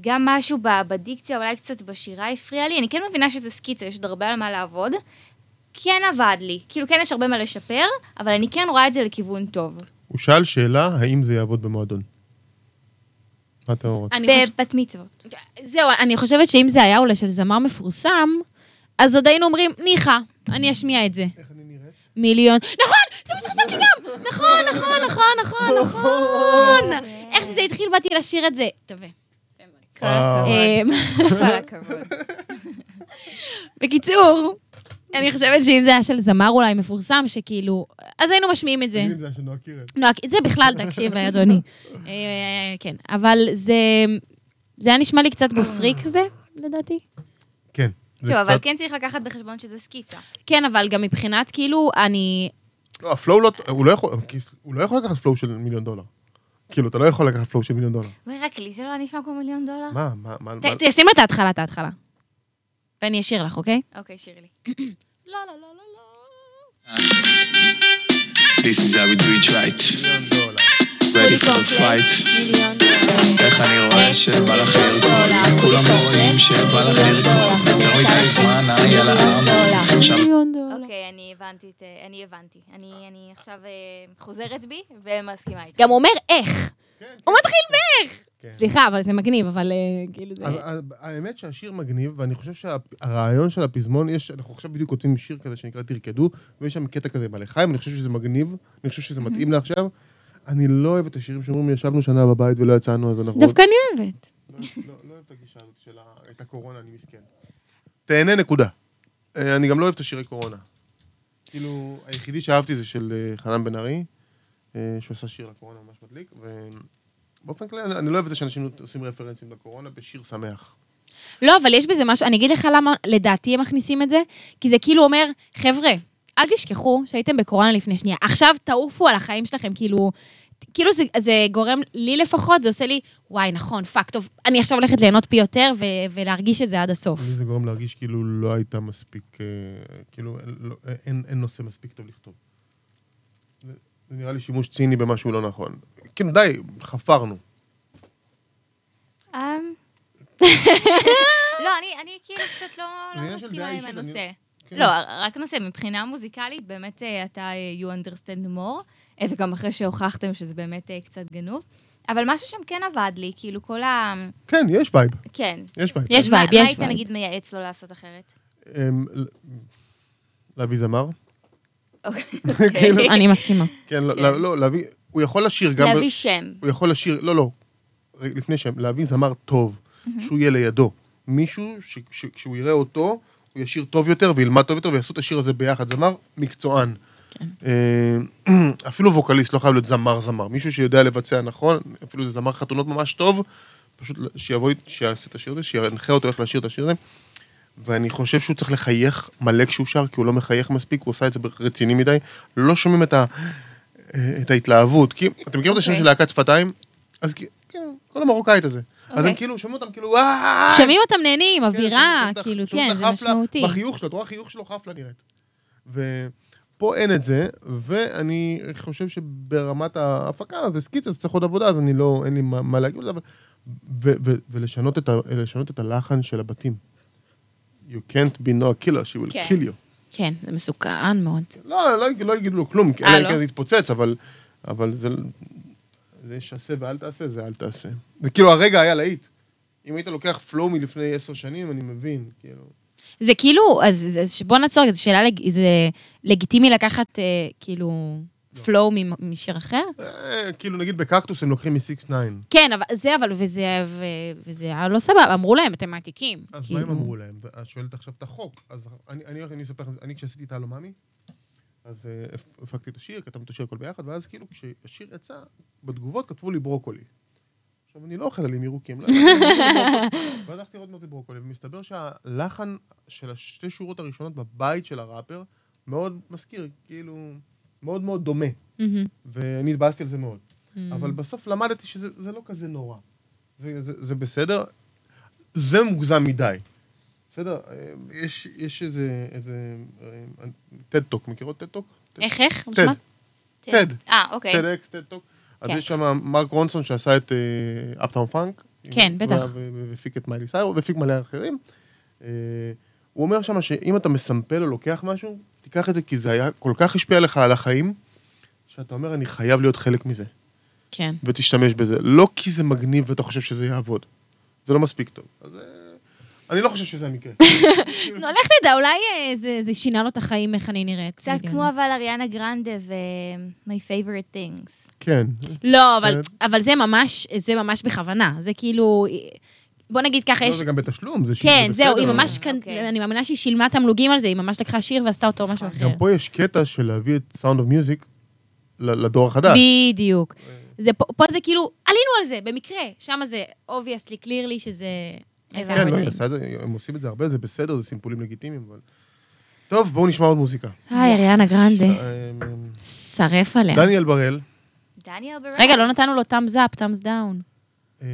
[SPEAKER 3] גם משהו ב- בדיקציה, אולי קצת בשירה הפריע לי. אני כן מבינה שזה סקיצה, יש עוד הרבה על מה לעבוד. כן עבד לי. כאילו, כן יש הרבה מה לשפר, אבל אני כן רואה את זה לכיוון טוב.
[SPEAKER 1] הוא שאל שאלה, האם זה יעבוד במועדון? מה אתם אומרות?
[SPEAKER 2] אני חוש-
[SPEAKER 3] בבת מצוות.
[SPEAKER 2] זהו, אני חושבת שאם זה היה אולי של זמר מפורסם, אז עוד היינו אומרים, ניחא, אני אשמיע את זה.
[SPEAKER 1] איך אני נראית?
[SPEAKER 2] מיליון. נכון! זה מה שחשבתי גם! נכון, נכון, נכון, נכון, נכון! איך שזה התחיל, באתי לשיר את זה. תווה.
[SPEAKER 3] כל
[SPEAKER 1] אה,
[SPEAKER 2] אמ,
[SPEAKER 3] הכבוד. כל הכבוד.
[SPEAKER 2] בקיצור, אני חושבת שאם זה היה של זמר אולי מפורסם, שכאילו, אז היינו משמיעים את זה.
[SPEAKER 1] תגידי לא את זה של נועה קירל.
[SPEAKER 2] נועה, זה בכלל, תקשיב, אדוני. אה, כן, אבל זה... זה היה נשמע לי קצת בוסרי כזה, לדעתי.
[SPEAKER 1] כן. זה
[SPEAKER 3] טוב, אבל
[SPEAKER 1] קצת-
[SPEAKER 3] כן צריך לקחת בחשבון שזה סקיצה.
[SPEAKER 2] כן, אבל גם מבחינת, כאילו, אני...
[SPEAKER 1] לא, הפלואו לא... הוא לא יכול... הוא לא יכול לקחת פלואו של מיליון דולר. כאילו, אתה לא יכול לקחת פלואו של מיליון דולר.
[SPEAKER 3] וואי, רק לי זה לא היה נשמע כמו מיליון דולר?
[SPEAKER 1] מה, מה, מה...
[SPEAKER 2] ת- תשים את ההתחלה, את ההתחלה. ואני אשאיר לך, אוקיי?
[SPEAKER 3] אוקיי, שירלי.
[SPEAKER 8] This is how we do it right. Ready for the fight. איך אני רואה שבא לך לרקוד, כולם רואים שבא לך לרקוד, יותר מדי זמן, היי על הארמון, שם
[SPEAKER 3] אוקיי, אני הבנתי את... אה, אני הבנתי. אני אני עכשיו אה, חוזרת בי ומסכימה איתך.
[SPEAKER 2] גם אומר איך. הוא מתחיל באיך. סליחה, אבל זה מגניב, אבל אה, כאילו זה...
[SPEAKER 1] אז- אז האמת שהשיר מגניב, ואני חושב שהרעיון של הפזמון, יש, אנחנו עכשיו בדיוק כותבים שיר כזה שנקרא תרקדו, ויש שם קטע כזה עם בעלי חיים, אני חושב שזה מגניב, אני חושב שזה מתאים לעכשיו. אני לא אוהב את השירים שאומרים, ישבנו שנה בבית ולא יצאנו, אז אנחנו...
[SPEAKER 2] דווקא אני אוהבת.
[SPEAKER 1] לא לא אוהב את הגישה הזאת של ה- את הקורונה, אני מסכן. תהנה, נקודה. אה, אני גם לא אוהב את השירי קורונה. כאילו, היחידי שאהבתי זה של אה, חנן בן ארי, אה, שעשה שיר לקורונה ממש מדליק, ובאופן כללי, אני- אני לא אוהב את זה שאנשים עושים רפרנסים לקורונה בשיר שמח.
[SPEAKER 2] לא, אבל יש בזה משהו, אני אגיד לך למה לדעתי הם מכניסים את זה, כי זה כאילו אומר, חבר'ה, אל תשכחו שהייתם בקורונה לפני שנייה, עכשיו תעופו על החיים שלכם, כאילו, כאילו זה, זה גורם לי לפחות, זה עושה לי, וואי, נכון, פאק, טוב, אני עכשיו הולכת ליהנות פי יותר ו- ולהרגיש את זה עד הסוף.
[SPEAKER 1] לי זה גורם להרגיש כאילו לא הייתה מספיק, אה, כאילו אין- לא- אין אין נושא מספיק טוב לכתוב. זה זה נראה לי שימוש ציני במשהו לא נכון. כאילו, די, חפרנו.
[SPEAKER 3] אמ, לא, אני- אני כאילו קצת לא לא
[SPEAKER 1] זה עניין של
[SPEAKER 3] מסכימה
[SPEAKER 1] דעה
[SPEAKER 3] עם
[SPEAKER 1] אישית, אני-
[SPEAKER 3] הנושא.
[SPEAKER 1] כן.
[SPEAKER 3] לא, רק נושא, מבחינה מוזיקלית, באמת אה, אתה אה, you understand more, אה, וגם אחרי שהוכחתם שזה באמת אה, קצת גנוב, אבל משהו שם כן עבד לי, כאילו כל ה...
[SPEAKER 1] כן, יש וייב,
[SPEAKER 3] כן.
[SPEAKER 1] יש וייב.
[SPEAKER 2] יש
[SPEAKER 3] מה-
[SPEAKER 2] וייב, יש
[SPEAKER 3] מה היית
[SPEAKER 2] וייב.
[SPEAKER 3] נגיד מייעץ לו לעשות אחרת?
[SPEAKER 1] אמ, ל- להביא זמר?
[SPEAKER 3] אוקיי.
[SPEAKER 2] אני מסכימה.
[SPEAKER 1] כן, לא- לא, לא, להביא, הוא יכול לשיר גם... ב-
[SPEAKER 3] להביא שם.
[SPEAKER 1] הוא יכול לשיר, לא, לא, רגע, לפני שם, להביא זמר טוב, שהוא יהיה לידו. מישהו שכשהוא יראה אותו, הוא ישיר טוב יותר וילמד טוב יותר ויעשו את השיר הזה ביחד. זמר מקצוען.
[SPEAKER 3] כן.
[SPEAKER 1] אה, אפילו ווקליסט, לא חייב להיות זמר זמר. מישהו שיודע לבצע נכון, אפילו זה זמר חתונות ממש טוב, פשוט שיבוא, לי- שיעשה את השיר הזה, שינחה אותו איך לשיר את השיר הזה. ואני חושב שהוא צריך לחייך מלא כשהוא שר, כי הוא לא מחייך מספיק, הוא עושה את זה רציני מדי. לא שומעים את, ה, אה, את ההתלהבות. כי, אתם מכירים okay. את השם של להקת שפתיים? אז כי- כאילו, כל המרוקאית הזה. Okay. אז הם
[SPEAKER 3] אוקיי.
[SPEAKER 1] כאילו, שומעים אותם כאילו, "וואי!"
[SPEAKER 2] שומעים אותם נהנים,
[SPEAKER 1] כן,
[SPEAKER 2] אווירה,
[SPEAKER 1] שומעים את-
[SPEAKER 2] כאילו,
[SPEAKER 1] שומעים
[SPEAKER 2] אה, כן,
[SPEAKER 1] את
[SPEAKER 2] זה
[SPEAKER 1] החפלה
[SPEAKER 2] משמעותי.
[SPEAKER 1] בחיוך שלו, את רואה החיוך שלו חפלה נראית. ופה אין את זה, ואני חושב שברמת ההפקה, זה סקיצה, זה צריך עוד עבודה, אז אני לא, אין לי מה, מה להגיד על זה, אבל... ו- ו- ולשנות את, ה- לשנות את הלחן של הבתים. You can't be no killer, she will
[SPEAKER 3] כן.
[SPEAKER 1] kill you.
[SPEAKER 2] כן, זה מסוכן מאוד.
[SPEAKER 1] לא, לא, יגיד- לא יגידו לו כלום,
[SPEAKER 2] אה,
[SPEAKER 1] אלא אם
[SPEAKER 2] לא?
[SPEAKER 1] כן זה יתפוצץ, אבל, אבל זה, זה שעשה ואל תעשה, זה אל תעשה. זה כאילו הרגע היה להיט. אם היית לוקח פלואו מלפני עשר שנים, אני מבין, כאילו.
[SPEAKER 2] זה כאילו, אז אז בוא נעצור, זו שאלה, לג- זה לגיטימי לקחת, אה, כאילו, פלואו משיר אחר?
[SPEAKER 1] אה, כאילו נגיד בקקטוס הם לוקחים מ-6-9.
[SPEAKER 2] כן, אבל זה, אבל, וזה, ו, וזה היה לא סבבה, אמרו להם, אתם מעתיקים.
[SPEAKER 1] אז מה
[SPEAKER 2] כאילו.
[SPEAKER 1] הם אמרו להם? את שואלת עכשיו את החוק. אז אני- אני הולך, אני אספר לכם, אני כשעשיתי את הלוממי, אז אה, הפ- הפקתי את השיר, כתבנו את השיר הכל ביחד, ואז כאילו כשהשיר יצא, בתגובות כתבו לי ברוקולי. עכשיו, אני לא אוכל עלים ירוקים. לא, אני לא אוכל ברוקולי. ואז הלכתי לראות מה זה ברוקולי, ומסתבר שהלחן של השתי שורות הראשונות בבית של הראפר מאוד מזכיר, כאילו, מאוד מאוד דומה.
[SPEAKER 2] מהמם.
[SPEAKER 1] ואני התבאסתי על זה מאוד. אבל בסוף למדתי שזה זה לא כזה נורא. זה, זה, זה בסדר, זה מוגזם מדי. בסדר? אה, יש, יש איזה... איזה אה, טד טוק, מכירות טד טוק?
[SPEAKER 2] איך, איך?
[SPEAKER 1] טד,
[SPEAKER 2] אה, נשמע?
[SPEAKER 1] טד,
[SPEAKER 3] אה, אוקיי.
[SPEAKER 1] טד אקס, טד טוק. אז
[SPEAKER 2] כן.
[SPEAKER 1] יש שם מרק רונסון שעשה את אה, אפטאון פאנק.
[SPEAKER 2] כן, בטח.
[SPEAKER 1] והפיק את מיילי סיירו, והפיק מלא אחרים. אה, הוא אומר שם שאם אתה מסמפל או לוקח משהו, תיקח את זה כי זה היה כל כך השפיע לך על החיים, שאתה אומר, אני חייב להיות חלק מזה.
[SPEAKER 2] כן.
[SPEAKER 1] ותשתמש בזה. לא כי זה מגניב ואתה חושב שזה יעבוד. זה לא מספיק טוב. אז אה, אני לא חושב שזה המקרה.
[SPEAKER 2] נו, כן. לא, לך תדע, אולי אה, זה, זה שינה לו את החיים, איך אני נראית. כן.
[SPEAKER 3] קצת
[SPEAKER 2] בדיוק.
[SPEAKER 3] כמו אבל אריאנה גרנדה ו-My favorite things.
[SPEAKER 1] כן.
[SPEAKER 2] לא, אבל,
[SPEAKER 1] כן.
[SPEAKER 2] אבל זה ממש, זה ממש בכוונה. זה כאילו... בוא נגיד ככה,
[SPEAKER 1] לא,
[SPEAKER 2] יש...
[SPEAKER 1] זה גם בתשלום, זה שיר,
[SPEAKER 2] כן,
[SPEAKER 1] זה
[SPEAKER 2] זהו, היא
[SPEAKER 1] בסדר.
[SPEAKER 2] ממש... כאן-
[SPEAKER 3] אוקיי.
[SPEAKER 2] אני מאמינה שהיא שילמה תמלוגים על זה, היא ממש לקחה שיר ועשתה אותו משהו אחר.
[SPEAKER 1] גם פה יש קטע של להביא את סאונד אוף מיוזיק לדור החדש.
[SPEAKER 2] בדיוק.
[SPEAKER 1] אה.
[SPEAKER 2] זה פה, פה זה כאילו, עלינו על זה, במקרה. שם זה obviously, clearly, שזה...
[SPEAKER 1] כן, לא,
[SPEAKER 2] everything.
[SPEAKER 1] היא עושה את זה, הם עושים את זה הרבה, זה בסדר, זה סימפולים לגיטימיים, אבל... טוב, בואו נשמע עוד מוזיקה.
[SPEAKER 2] היי, אריאנה גרנדה.
[SPEAKER 1] אה, אה,
[SPEAKER 2] שרף עליה.
[SPEAKER 1] דניאל בראל.
[SPEAKER 3] דניאל ברק.
[SPEAKER 2] רגע, לא נתנו לו thumbs up, thumbs down.
[SPEAKER 1] אה,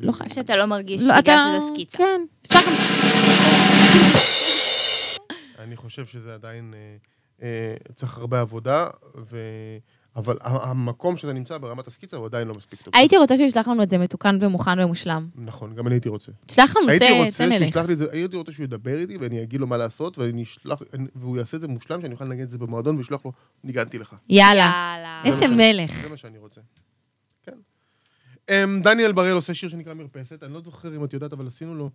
[SPEAKER 2] לא חשבתי.
[SPEAKER 3] שאתה לא מרגיש בגלל שזה סקיצה.
[SPEAKER 2] כן. אפשר גם...
[SPEAKER 1] אני חושב שזה עדיין אה, אה, צריך הרבה עבודה, ו... אבל ה- המקום שזה נמצא ברמת הסקיצה הוא עדיין לא מספיק טוב.
[SPEAKER 2] הייתי רוצה שהוא ישלח לנו את זה מתוקן ומוכן ומושלם.
[SPEAKER 1] נכון, גם אני הייתי רוצה.
[SPEAKER 2] תשלח לנו,
[SPEAKER 1] הייתי
[SPEAKER 2] צא-
[SPEAKER 1] רוצה
[SPEAKER 2] צא נלך.
[SPEAKER 1] שישלח לי את זה, הייתי רוצה שהוא ידבר איתי ואני אגיד לו מה לעשות, ואני אשלח, והוא יעשה את זה מושלם, שאני אוכל לנגן את זה במועדון ולשלוח לו, ניגנתי לך.
[SPEAKER 2] יאללה.
[SPEAKER 3] יאללה.
[SPEAKER 2] איזה
[SPEAKER 1] שאני-
[SPEAKER 2] מלך.
[SPEAKER 1] זה מה שאני רוצה. כן. אמ, דניאל בראל עושה שיר שנקרא מרפסת, אני לא זוכר אם את יודעת, אבל עשינו לו,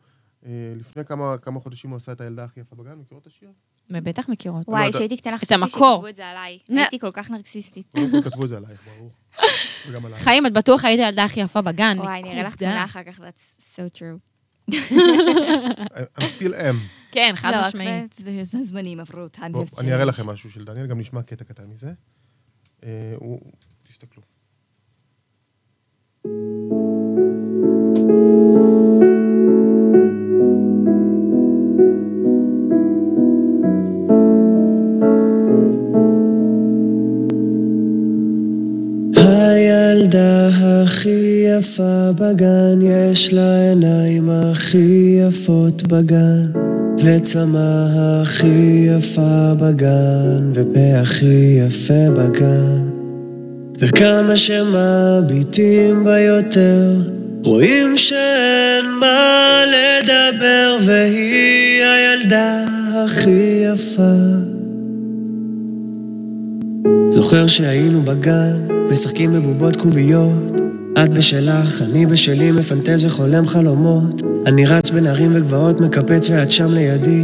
[SPEAKER 1] אה, לפני כמה כמה חודשים הוא עשה את הילדה הכי יפה בגן, מכירות את השיר?
[SPEAKER 2] בטח מכירות.
[SPEAKER 1] לא,
[SPEAKER 3] וואי,
[SPEAKER 1] אתה-
[SPEAKER 3] כשהייתי קטנה
[SPEAKER 2] את
[SPEAKER 3] חשבתי
[SPEAKER 2] המקור.
[SPEAKER 3] שכתבו את זה עליי.
[SPEAKER 2] נה.
[SPEAKER 3] הייתי כל כך נרקסיסטית.
[SPEAKER 1] קודם כל כתבו את זה עלייך, ברור. וגם עלייך.
[SPEAKER 2] חיים, את בטוח היית הילדה הכי יפה בגן.
[SPEAKER 3] וואי,
[SPEAKER 2] נקודה.
[SPEAKER 3] נראה לך תמונה אחר כך, that's so true.
[SPEAKER 1] אה, I'm still am.
[SPEAKER 2] כן, חד
[SPEAKER 3] לא,
[SPEAKER 2] משמעית.
[SPEAKER 3] הזמנים עברו אותן.
[SPEAKER 1] בוא, אני אראה לכם משהו של דניאל, גם נשמע קטע קטן מזה. אה, הוא... תסתכלו.
[SPEAKER 4] הילדה הכי יפה בגן, יש לה עיניים הכי יפות בגן, וצמה הכי יפה בגן, ופה הכי יפה בגן. וכמה שמביטים בה יותר, רואים שאין מה לדבר, והיא הילדה הכי יפה. זוכר שהיינו בגן, משחקים בבובות קוביות. את בשלך, אני בשלי, מפנטז וחולם חלומות. אני רץ בין הרים וגבעות, מקפץ ואת שם לידי.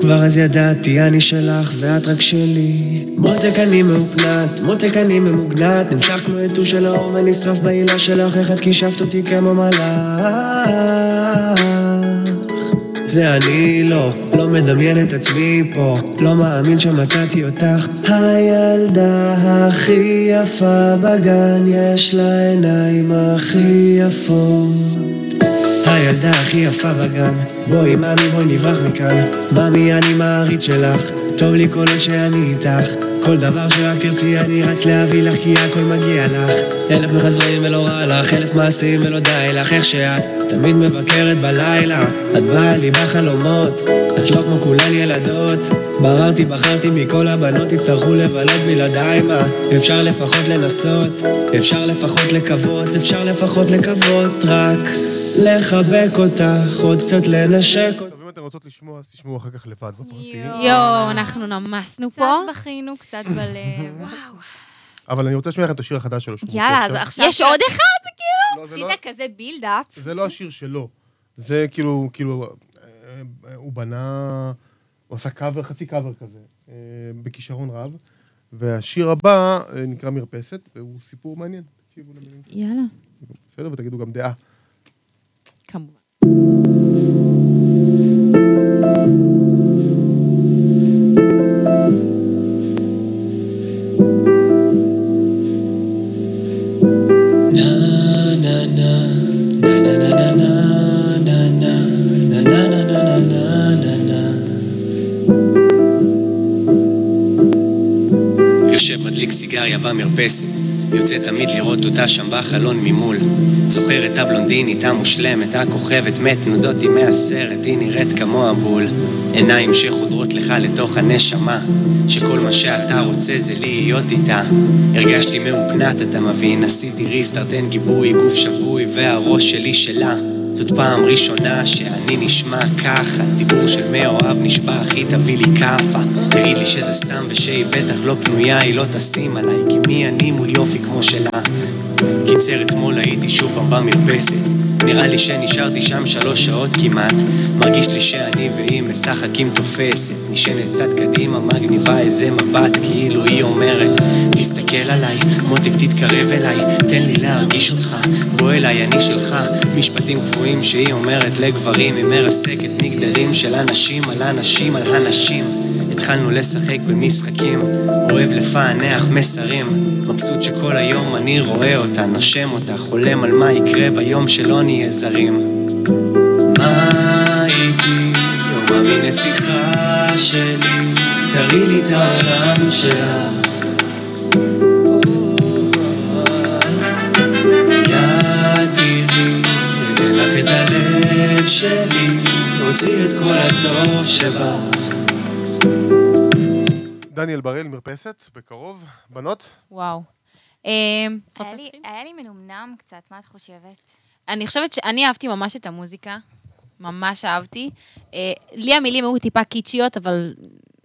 [SPEAKER 4] כבר אז ידעתי, אני שלך ואת רק שלי. מותק אני מאופנת, מותק אני ממוגנת. נמשך כמו יתו של האור ונשרף בעילה שלך, איך את כישפת אותי כמו מלאך. זה אני לא, לא מדמיין את עצמי פה, לא מאמין שמצאתי אותך. הילדה הכי יפה בגן, יש לה עיניים הכי יפות. הילדה הכי יפה בגן, בואי מאמי בואי נברח מכאן. מאמי אני מעריץ שלך, טוב לי כל עוד שאני איתך. כל דבר שרק תרצי אני רץ להביא לך כי הכל מגיע לך. אלף מחזרים ולא רע לך, אלף מעשים ולא די לך, איך שאת תמיד מבקרת בלילה. את באה לי בחלומות, את לא כמו כולן ילדות. בררתי בחרתי מכל הבנות יצטרכו לבלות בלעדיי מה. אפשר לפחות לנסות, אפשר לפחות לקוות, אפשר לפחות לקוות רק. לחבק אותך, עוד קצת לנשק אותך.
[SPEAKER 1] טוב, אם אתן רוצות לשמוע, אז תשמעו אחר כך לבד בפרטי.
[SPEAKER 2] יואו, אנחנו נמסנו
[SPEAKER 3] קצת
[SPEAKER 2] פה.
[SPEAKER 3] בכינו, קצת בלב.
[SPEAKER 1] אבל אני רוצה לשמוע לכם את השיר החדש שלו. שהוא מוציא
[SPEAKER 3] יאללה, אז
[SPEAKER 1] עכשיו.
[SPEAKER 3] עכשיו...
[SPEAKER 2] יש עוד אחד? כאילו?
[SPEAKER 1] לא, זה לא-
[SPEAKER 3] עשית כזה בילדאפ.
[SPEAKER 1] זה לא השיר שלו. זה כאילו, כאילו, אה, אה, הוא בנה, הוא עשה קאבר, חצי קאבר כזה, אה, בכישרון רב. והשיר הבא אה, נקרא מרפסת, והוא סיפור מעניין. תקשיבו למילים,
[SPEAKER 2] יאללה.
[SPEAKER 1] בסדר? ותגידו גם דעה.
[SPEAKER 2] כמובן.
[SPEAKER 4] יושב מדליק סיגריה במרפסת, יוצא תמיד לראות אותה שם בחלון ממול. זוכר את הבלונדינית המושלמת, הכוכבת מתנו, זאתי מהסרט, היא נראית כמו הבול. עיניים שחודרות לך לתוך הנשמה, שכל מה שאתה רוצה זה להיות איתה. הרגשתי מאופנת, אתה מבין, עשיתי ריסטארט, אין גיבוי, גוף שבוי, והראש שלי שלה. זאת פעם ראשונה שאני נשמע ככה, דיבור של מאוהב נשבע, אחי תביא לי כאפה. תגיד לי שזה סתם ושהיא בטח לא פנויה, היא לא תשים עליי, כי מי אני מול יופי כמו שלה. קיצר אתמול הייתי שוב פעם במרפסת, נראה לי שנשארתי שם שלוש שעות כמעט מרגיש לי שאני והיא משחקים תופסת נשענת צד קדימה מגניבה איזה מבט כאילו היא אומרת תסתכל עליי, מותק תתקרב אליי תן לי להרגיש אותך, בוא אליי אני שלך משפטים קבועים שהיא אומרת לגברים היא מרסקת מגדלים של אנשים על אנשים על הנשים התחלנו לשחק במשחקים, אוהב לפענח מסרים, מבסוט שכל היום אני רואה אותה, נושם אותה, חולם על מה יקרה ביום שלא נהיה זרים. מה איתי? לא מאמין לשיחה שלי, תראי לי את העולם שלך. יד תראי, אתן לך את הלב שלי, הוציא את כל הטוב שבך.
[SPEAKER 1] דניאל בראל, מרפסת, בקרוב. בנות?
[SPEAKER 2] וואו. אה, רוצה
[SPEAKER 3] היה לי-
[SPEAKER 2] להתחיל?
[SPEAKER 3] היה לי מנומנם קצת, מה את חושבת?
[SPEAKER 2] אני חושבת שאני אהבתי ממש את המוזיקה. ממש אהבתי. אה, לי המילים היו טיפה קיצ'יות, אבל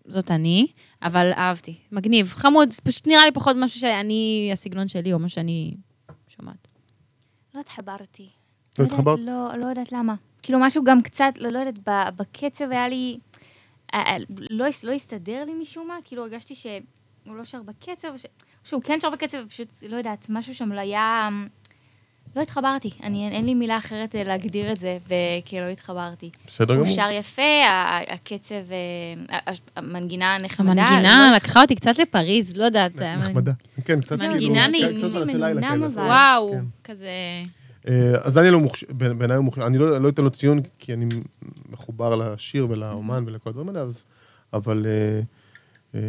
[SPEAKER 2] זאת אני. אבל אהבתי. מגניב. חמוד. זה פשוט נראה לי פחות משהו שאני, הסגנון שלי, או מה שאני שומעת.
[SPEAKER 3] לא התחברתי.
[SPEAKER 1] לא
[SPEAKER 3] יודעת-
[SPEAKER 1] התחברת?
[SPEAKER 3] לא, לא יודעת למה. כאילו משהו גם קצת, לא, לא יודעת, ב- בקצב היה לי... אה, אה, לא, הס- לא הסתדר לי משום מה, כאילו הרגשתי שהוא לא שר בקצב, ש... שהוא כן שר בקצב, פשוט, לא יודעת, משהו שם לא היה... לא התחברתי, אני, אין, אין לי מילה אחרת אה, להגדיר את זה, וכאילו לא התחברתי.
[SPEAKER 1] בסדר
[SPEAKER 3] הוא
[SPEAKER 1] גמור.
[SPEAKER 3] שר יפה, ה- ה- הקצב, אה, ה- ה- המנגינה נחמדה.
[SPEAKER 2] המנגינה
[SPEAKER 3] לא-
[SPEAKER 2] לקחה אותי קצת לפריז, לא יודעת.
[SPEAKER 1] נחמדה. כן, קצת כאילו...
[SPEAKER 2] מנגינה
[SPEAKER 1] קצת
[SPEAKER 2] נעימה.
[SPEAKER 1] מעשה לילה
[SPEAKER 3] מנומנם
[SPEAKER 1] כאלה.
[SPEAKER 3] אבל.
[SPEAKER 2] וואו,
[SPEAKER 1] כן.
[SPEAKER 2] כזה...
[SPEAKER 1] אה, אז דניאל הוא מוכשר, בעיניי הוא מוכשר, אני לא לא אתן לו ציון, כי אני מחובר לשיר ולאומן ולכל הדברים האלה, אז- אבל אה, אה,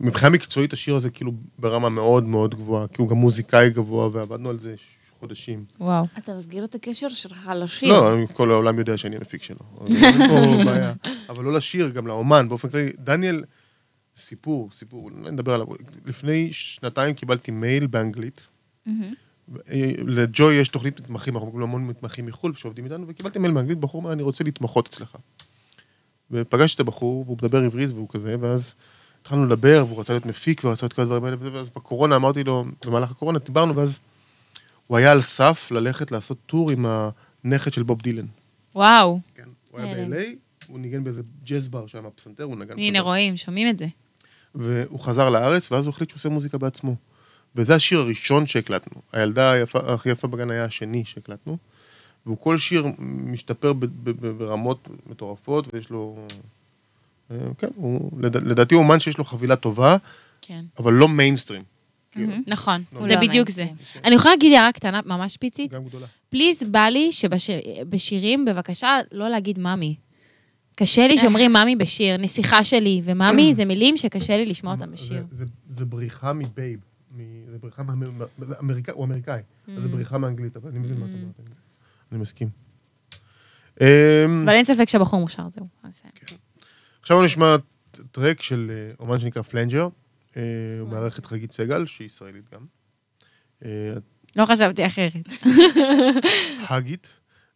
[SPEAKER 1] מבחינה מקצועית השיר הזה כאילו ברמה מאוד מאוד גבוהה, כי הוא גם מוזיקאי גבוה, ועבדנו על זה חודשים.
[SPEAKER 2] וואו.
[SPEAKER 6] אתה מסגיר את הקשר שלך לשיר.
[SPEAKER 1] לא, כל העולם יודע שאני המפיק שלו. אז אין פה בעיה. אבל לא לשיר, גם לאומן, באופן כללי. דניאל, סיפור, סיפור, לא נדבר עליו. לפני שנתיים קיבלתי מייל באנגלית. אה, לג'וי יש תוכנית מתמחים, אנחנו מקבלים המון מתמחים מחו"ל שעובדים איתנו, וקיבלתי מייל באנגלית, בחור אומר, אני רוצה להתמחות אצלך. ופגשתי את הבחור, והוא מדבר עברית והוא כזה, ואז התחלנו לדבר, והוא רצה להיות מפיק, והוא רצה את כל הדברים האלה, וזה, ואז בקורונה אמרתי לו, במהלך הקורונה דיברנו, ואז הוא היה על סף ללכת לעשות טור עם הנכד של בוב דילן.
[SPEAKER 2] וואו.
[SPEAKER 1] כן, הוא היה ב-LA, הוא ניגן באיזה ג'אז בר שם, הפסנתר, הוא נגן.
[SPEAKER 2] הנה,
[SPEAKER 1] פסנתר.
[SPEAKER 2] רואים, שומעים את זה.
[SPEAKER 1] והוא חזר לארץ, ואז הוא החליט שהוא עושה מוזיקה בעצמו. וזה השיר הראשון שהקלטנו. הילדה היפה, הכי יפה בגן היה השני שהקלטנו. והוא כל שיר משתפר ב- ב- ב- ברמות מטורפות, ויש לו... אה, כן, הוא, לד, לדעתי הוא אומן שיש לו חבילה טובה,
[SPEAKER 2] כן.
[SPEAKER 1] אבל לא מיינסטרים. כאילו,
[SPEAKER 2] נכון,
[SPEAKER 1] הוא
[SPEAKER 2] זה
[SPEAKER 3] לא
[SPEAKER 2] בדיוק זה. כן. אני יכולה להגיד הערה קטנה, ממש פיצית?
[SPEAKER 1] גם גדולה.
[SPEAKER 2] פליז, בא לי שבשירים, בבקשה, לא להגיד מאמי. קשה לי שאומרים מאמי בשיר, נסיכה שלי, ומאמי זה מילים שקשה לי לשמוע אותם בשיר.
[SPEAKER 1] זה, זה, זה בריחה מבייב. מ- זה בריחה מה... מה- זה אמריקאי, הוא אמריקאי. אז זה בריחה מאנגלית, אבל אני מבין מה את אומרת. אני- אני מסכים. אמ,
[SPEAKER 2] אבל אין ספק שהבחור מוכשר, זהו. אז, אה,
[SPEAKER 1] עכשיו נשמע טרק של אה, אומן שנקרא פלנג'ר. אה, הוא מארח את חגית סגל, שהיא ישראלית גם. אה,
[SPEAKER 2] לא חשבתי אחרת.
[SPEAKER 1] חגית.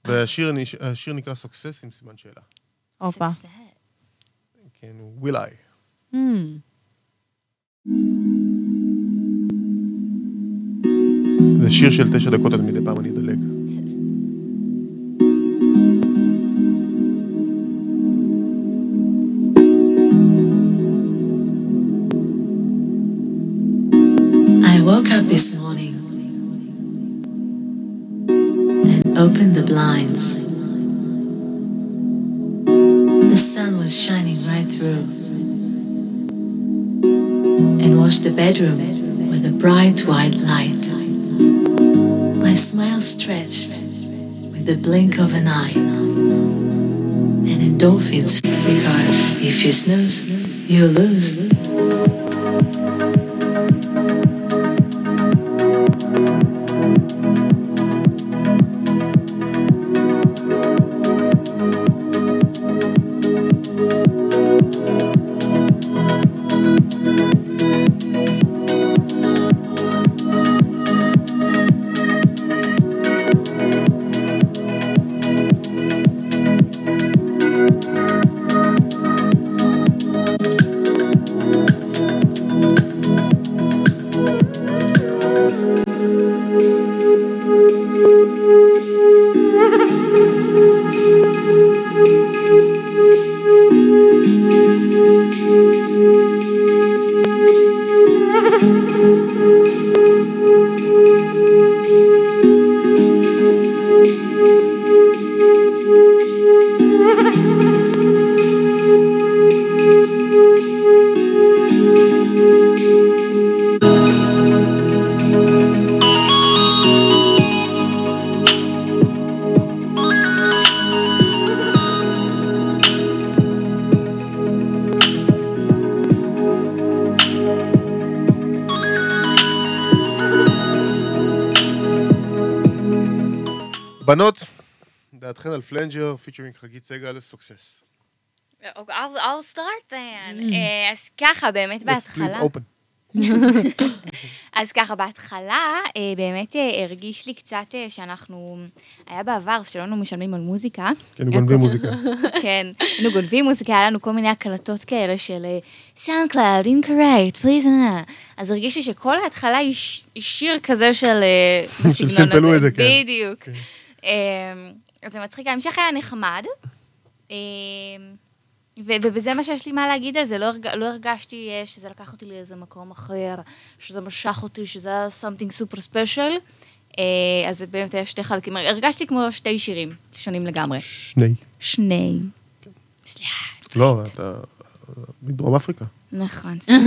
[SPEAKER 1] והשיר נש- השיר נקרא סוקסס עם סימן שאלה.
[SPEAKER 2] הופה.
[SPEAKER 1] כן, הוא will I.
[SPEAKER 2] Hmm.
[SPEAKER 1] זה שיר של תשע דקות, אז מדי פעם אני אדלג.
[SPEAKER 6] I woke up this morning and opened the blinds. The sun was shining right through and washed the bedroom with a bright white light. My smile stretched with the blink of an eye and endorphins because if you snooze, you lose.
[SPEAKER 1] בנות, דעתכן על פלנג'ר, פיצ'רינג חגית סגל, סוקסס.
[SPEAKER 3] אוקיי, I'll, I'll start then. אה, אז ככה, באמת בהתחלה. אז ככה, בהתחלה אה, באמת אה, הרגיש לי קצת אה, שאנחנו, היה בעבר שלא היינו משלמים על מוזיקה.
[SPEAKER 1] כן, גונבים מוזיקה.
[SPEAKER 3] כן, היינו גונבים מוזיקה, היה לנו כל מיני הקלטות כאלה של אה, סאונד קלאוד, אינקורקט, פליז נא. אה, אז הרגיש לי שכל ההתחלה היא ש- היא שיר כזה של... אה,
[SPEAKER 1] של
[SPEAKER 3] בסגנון
[SPEAKER 1] סימפלו
[SPEAKER 3] הזה.
[SPEAKER 1] את זה, כן.
[SPEAKER 3] בדיוק. אה, אז זה מצחיק, ההמשך היה נחמד. אה, ו- ובזה מה שיש לי מה להגיד על זה, לא, הרג- לא הרגשתי אה, שזה לקח אותי לאיזה מקום אחר, שזה משך אותי, שזה היה something super special. אה, אז זה באמת היה שתי חלקים, הרגשתי כמו שתי שירים שונים לגמרי.
[SPEAKER 1] שני.
[SPEAKER 3] שני.
[SPEAKER 1] לא, אתה מדרום אפריקה.
[SPEAKER 3] נכון, סליחה.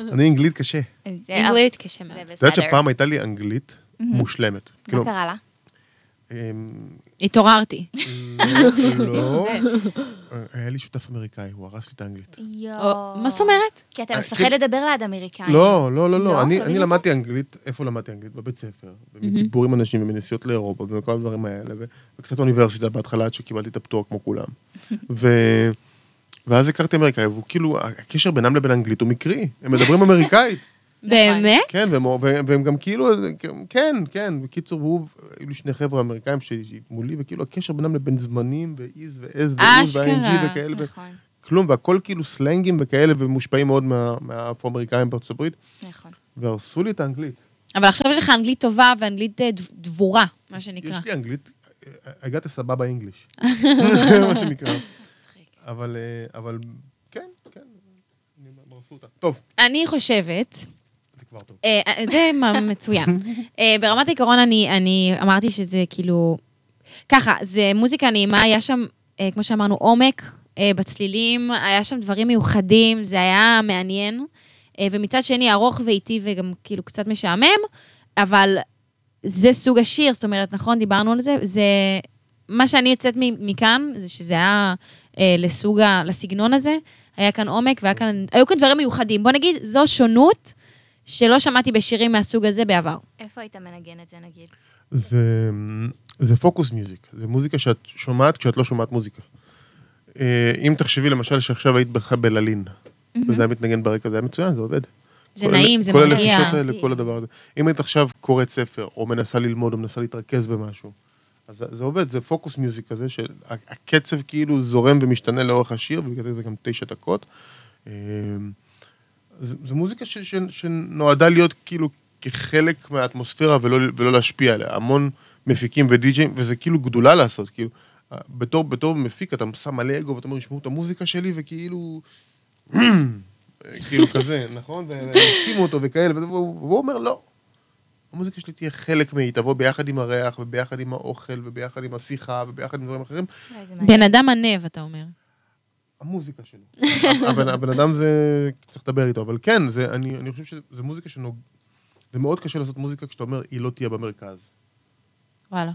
[SPEAKER 1] אני אנגלית קשה.
[SPEAKER 3] זה-
[SPEAKER 2] אנגלית קשה מאוד.
[SPEAKER 1] את יודעת שפעם הייתה לי אנגלית מושלמת. כאילו,
[SPEAKER 3] Mm-hmm. מה קרה לה?
[SPEAKER 1] אמ,
[SPEAKER 2] התעוררתי.
[SPEAKER 1] לא, היה לי שותף אמריקאי, הוא הרס לי את האנגלית.
[SPEAKER 3] יואו.
[SPEAKER 2] מה זאת אומרת?
[SPEAKER 3] כי אתה
[SPEAKER 1] לא. אה,
[SPEAKER 3] מפחד
[SPEAKER 1] כן.
[SPEAKER 3] לדבר ליד אמריקאים.
[SPEAKER 1] לא, לא, לא, לא. אני-
[SPEAKER 3] לא
[SPEAKER 1] אני
[SPEAKER 3] בגלל
[SPEAKER 1] למדתי אנגלית, איפה למדתי אנגלית? בבית ספר. מדיבור עם אנשים ומנסיעות לאירופה ומכל הדברים האלה, ו- וקצת אוניברסיטה בהתחלה עד שקיבלתי את הפטור כמו כולם. ו... ואז הכרתי אמריקאי, והוא כאילו, הקשר בינם לבין אנגלית הוא מקרי. הם מדברים אמריקאית.
[SPEAKER 2] באמת?
[SPEAKER 1] כן, והם, והם, והם גם כאילו, כן, כן, בקיצור, והוא, היו לי שני חבר'ה אמריקאים שמולי, וכאילו הקשר בינם לבין זמנים, ואיז ועז ועוז
[SPEAKER 2] אשכרה,
[SPEAKER 1] ואיינג'י וכאלה,
[SPEAKER 3] נכון,
[SPEAKER 1] וכלום, והכל כאילו סלנגים וכאלה, ומושפעים מאוד מה- מהאפרו-אמריקאים בארצות הברית,
[SPEAKER 3] נכון.
[SPEAKER 1] והרסו לי את האנגלית.
[SPEAKER 2] אבל עכשיו יש לך אנגלית טובה ואנגלית אה, דב- דבורה, מה שנקרא.
[SPEAKER 1] יש לי אנגלית, הגעת סבבה אינגליש, מה שנקרא. אבל, אה, אבל, כן, כן, אני- הם הרסו אותה. טוב,
[SPEAKER 2] אני חושבת
[SPEAKER 1] זה כבר טוב.
[SPEAKER 2] אה, אה, זה מה- מצוין. אה, ברמת העיקרון, אני, אני אמרתי שזה כאילו... ככה, זה מוזיקה נעימה, היה שם, אה, כמו שאמרנו, עומק אה, בצלילים, היה שם דברים מיוחדים, זה היה מעניין. אה, ומצד שני, ארוך ואיטי וגם כאילו קצת משעמם, אבל זה סוג השיר, זאת אומרת, נכון, דיברנו על זה, זה... מה שאני יוצאת מ- מכאן, זה שזה היה אה, לסוג ה... לסגנון הזה, היה כאן עומק והיה כאן... היו כאן דברים מיוחדים. בוא נגיד, זו שונות שלא שמעתי בשירים מהסוג הזה בעבר.
[SPEAKER 3] איפה היית מנגן את זה, נגיד?
[SPEAKER 1] זה, זה פוקוס מיוזיק, זה מוזיקה שאת שומעת כשאת לא שומעת מוזיקה. אה, אם תחשבי למשל שעכשיו היית בכלל בללין, וזה היה מתנגן ברקע, זה היה מצוין, זה עובד.
[SPEAKER 2] זה
[SPEAKER 1] כל
[SPEAKER 2] נעים,
[SPEAKER 1] אלה-
[SPEAKER 2] זה
[SPEAKER 1] כל
[SPEAKER 2] מרגיע.
[SPEAKER 1] הלחישות האלה, כל הדבר הזה. אם היית עכשיו קוראת ספר, או מנסה ללמוד, או מנסה להתרכז במשהו, אז זה- זה עובד, זה פוקוס מיוזיק כזה, שהקצב כאילו זורם ומשתנה לאורך השיר, ובגלל זה זה גם תשע דקות. אה, זה- זה מוזיקה ש, ש, שנועדה להיות כאילו כחלק מהאטמוספירה ולא, ולא להשפיע עליה. המון מפיקים ודי-ג'אים, וזה כאילו גדולה לעשות, כאילו, אה, בתור, בתור מפיק אתה שם מלא אגו ואתה אומר, ישמעו את המוזיקה שלי, וכאילו, אה, כאילו כזה, נכון? ושימו אותו וכאלה, וזה, והוא והוא אומר, לא. המוזיקה שלי תהיה חלק מהיא, תבוא ביחד עם הריח, וביחד עם האוכל, וביחד עם השיחה, וביחד עם דברים אחרים.
[SPEAKER 3] אולי זה
[SPEAKER 2] בן אדם ענב, אתה אומר.
[SPEAKER 1] המוזיקה שלו. הבן, הבן אדם זה, צריך לדבר איתו, אבל כן, זה, אני, אני חושב שזה מוזיקה שנוג... זה מאוד קשה לעשות מוזיקה כשאתה אומר, היא לא תהיה במרכז.
[SPEAKER 2] וואלה.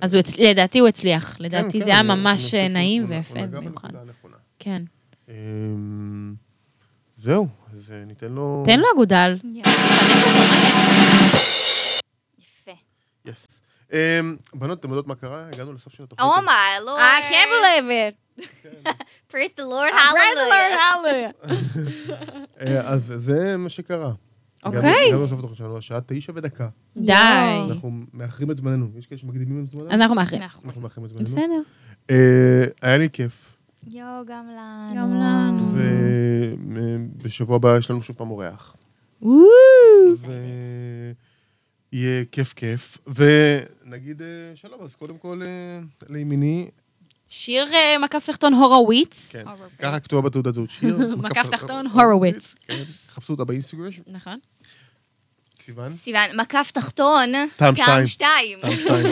[SPEAKER 2] אז הוא הצ... לדעתי הוא הצליח. לדעתי
[SPEAKER 1] כן,
[SPEAKER 2] זה היה
[SPEAKER 1] אני- אני
[SPEAKER 2] ממש אה,
[SPEAKER 1] חושב נכון,
[SPEAKER 2] נעים
[SPEAKER 1] שהוא- הוא
[SPEAKER 2] ויפה
[SPEAKER 1] נגע
[SPEAKER 2] במיוחד.
[SPEAKER 1] בנקודה הנכונה.
[SPEAKER 2] כן.
[SPEAKER 1] אמ, זהו, אז אה, ניתן לו...
[SPEAKER 2] תן לו אגודל.
[SPEAKER 3] יפה.
[SPEAKER 1] Yes. אמ, בנות, אתם יודעות מה קרה? הגענו לסוף של התוכנית.
[SPEAKER 3] אומה, לא...
[SPEAKER 2] I can't believe it.
[SPEAKER 3] Praise the
[SPEAKER 2] Praise
[SPEAKER 3] Lord,
[SPEAKER 2] the Lord,
[SPEAKER 3] hallelujah.
[SPEAKER 2] hallelujah.
[SPEAKER 1] אה, אז זה מה שקרה.
[SPEAKER 2] אוקיי.
[SPEAKER 1] הגענו- הגענו לסוף התוכנית שלנו, השעה תשע ודקה.
[SPEAKER 2] די.
[SPEAKER 1] אנחנו מאחרים את זמננו. יש כאלה שמקדימים את זמננו?
[SPEAKER 2] אנחנו מאחרים.
[SPEAKER 1] אנחנו מאחרים את זמננו.
[SPEAKER 2] בסדר.
[SPEAKER 1] אה, היה לי כיף.
[SPEAKER 3] יואו, גם לנו.
[SPEAKER 2] גם לנו.
[SPEAKER 1] ובשבוע הבא יש לנו שוב פעם אורח. ויהיה כיף כיף. ונגיד אה, שלום, אז קודם כל אה, לימיני,
[SPEAKER 2] שיר אה, מקף תחתון הורוביץ.
[SPEAKER 1] כן, ככה כתובה בתעודת זהות שיר.
[SPEAKER 2] אוקיי. מקף תחתון הורוביץ.
[SPEAKER 1] כן, חפשו אותה באינסטגרם,
[SPEAKER 2] נכון.
[SPEAKER 1] סיוון.
[SPEAKER 3] סיוון, מקף תחתון.
[SPEAKER 1] טעם שתיים.
[SPEAKER 3] שתיים.
[SPEAKER 1] טעם שתיים.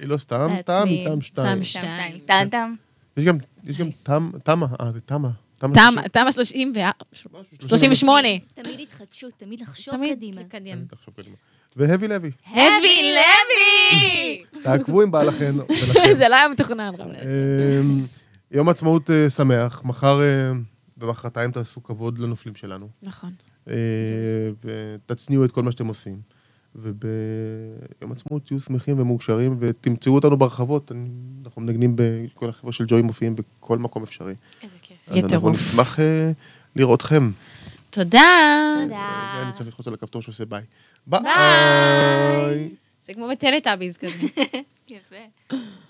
[SPEAKER 1] היא לא סתם, טעם היא טעם שתיים.
[SPEAKER 2] טעם ש-
[SPEAKER 3] טעם
[SPEAKER 2] שתיים.
[SPEAKER 3] שתיים. טעם טעם.
[SPEAKER 1] יש גם, יש גם טעם, תמה, אה, זה תמה. תמה.
[SPEAKER 2] תמה- תמה 38.
[SPEAKER 3] תמיד התחדשות, תמיד לחשוב
[SPEAKER 2] תמיד
[SPEAKER 3] קדימה.
[SPEAKER 2] קדימה.
[SPEAKER 1] תחשוב קדימה. והבי לוי,
[SPEAKER 2] heavy
[SPEAKER 3] לוי!
[SPEAKER 1] תעקבו עם בעלכן ולכן.
[SPEAKER 2] זה לא היה מתוכנן, רב.
[SPEAKER 1] אמ, יום עצמאות אה, שמח. מחר אה, ומחרתיים תעשו כבוד לנופלים שלנו.
[SPEAKER 2] נכון.
[SPEAKER 1] אה, ותצניעו את כל מה שאתם עושים. וביום עצמאות תהיו שמחים ומאושרים, ותמצאו אותנו ברחבות. אני- אנחנו מנגנים, ב- כל החבר'ה של ג'וי מופיעים בכל מקום אפשרי.
[SPEAKER 3] איזה כיף.
[SPEAKER 1] אז אנחנו
[SPEAKER 2] יטרוף.
[SPEAKER 1] נשמח אה, לראותכם.
[SPEAKER 2] תודה.
[SPEAKER 3] תודה.
[SPEAKER 1] אני אה, צריך ללחוץ על הכפתור שעושה ביי. ביי.
[SPEAKER 2] זה כמו בטלטאביז כזה.
[SPEAKER 3] יפה.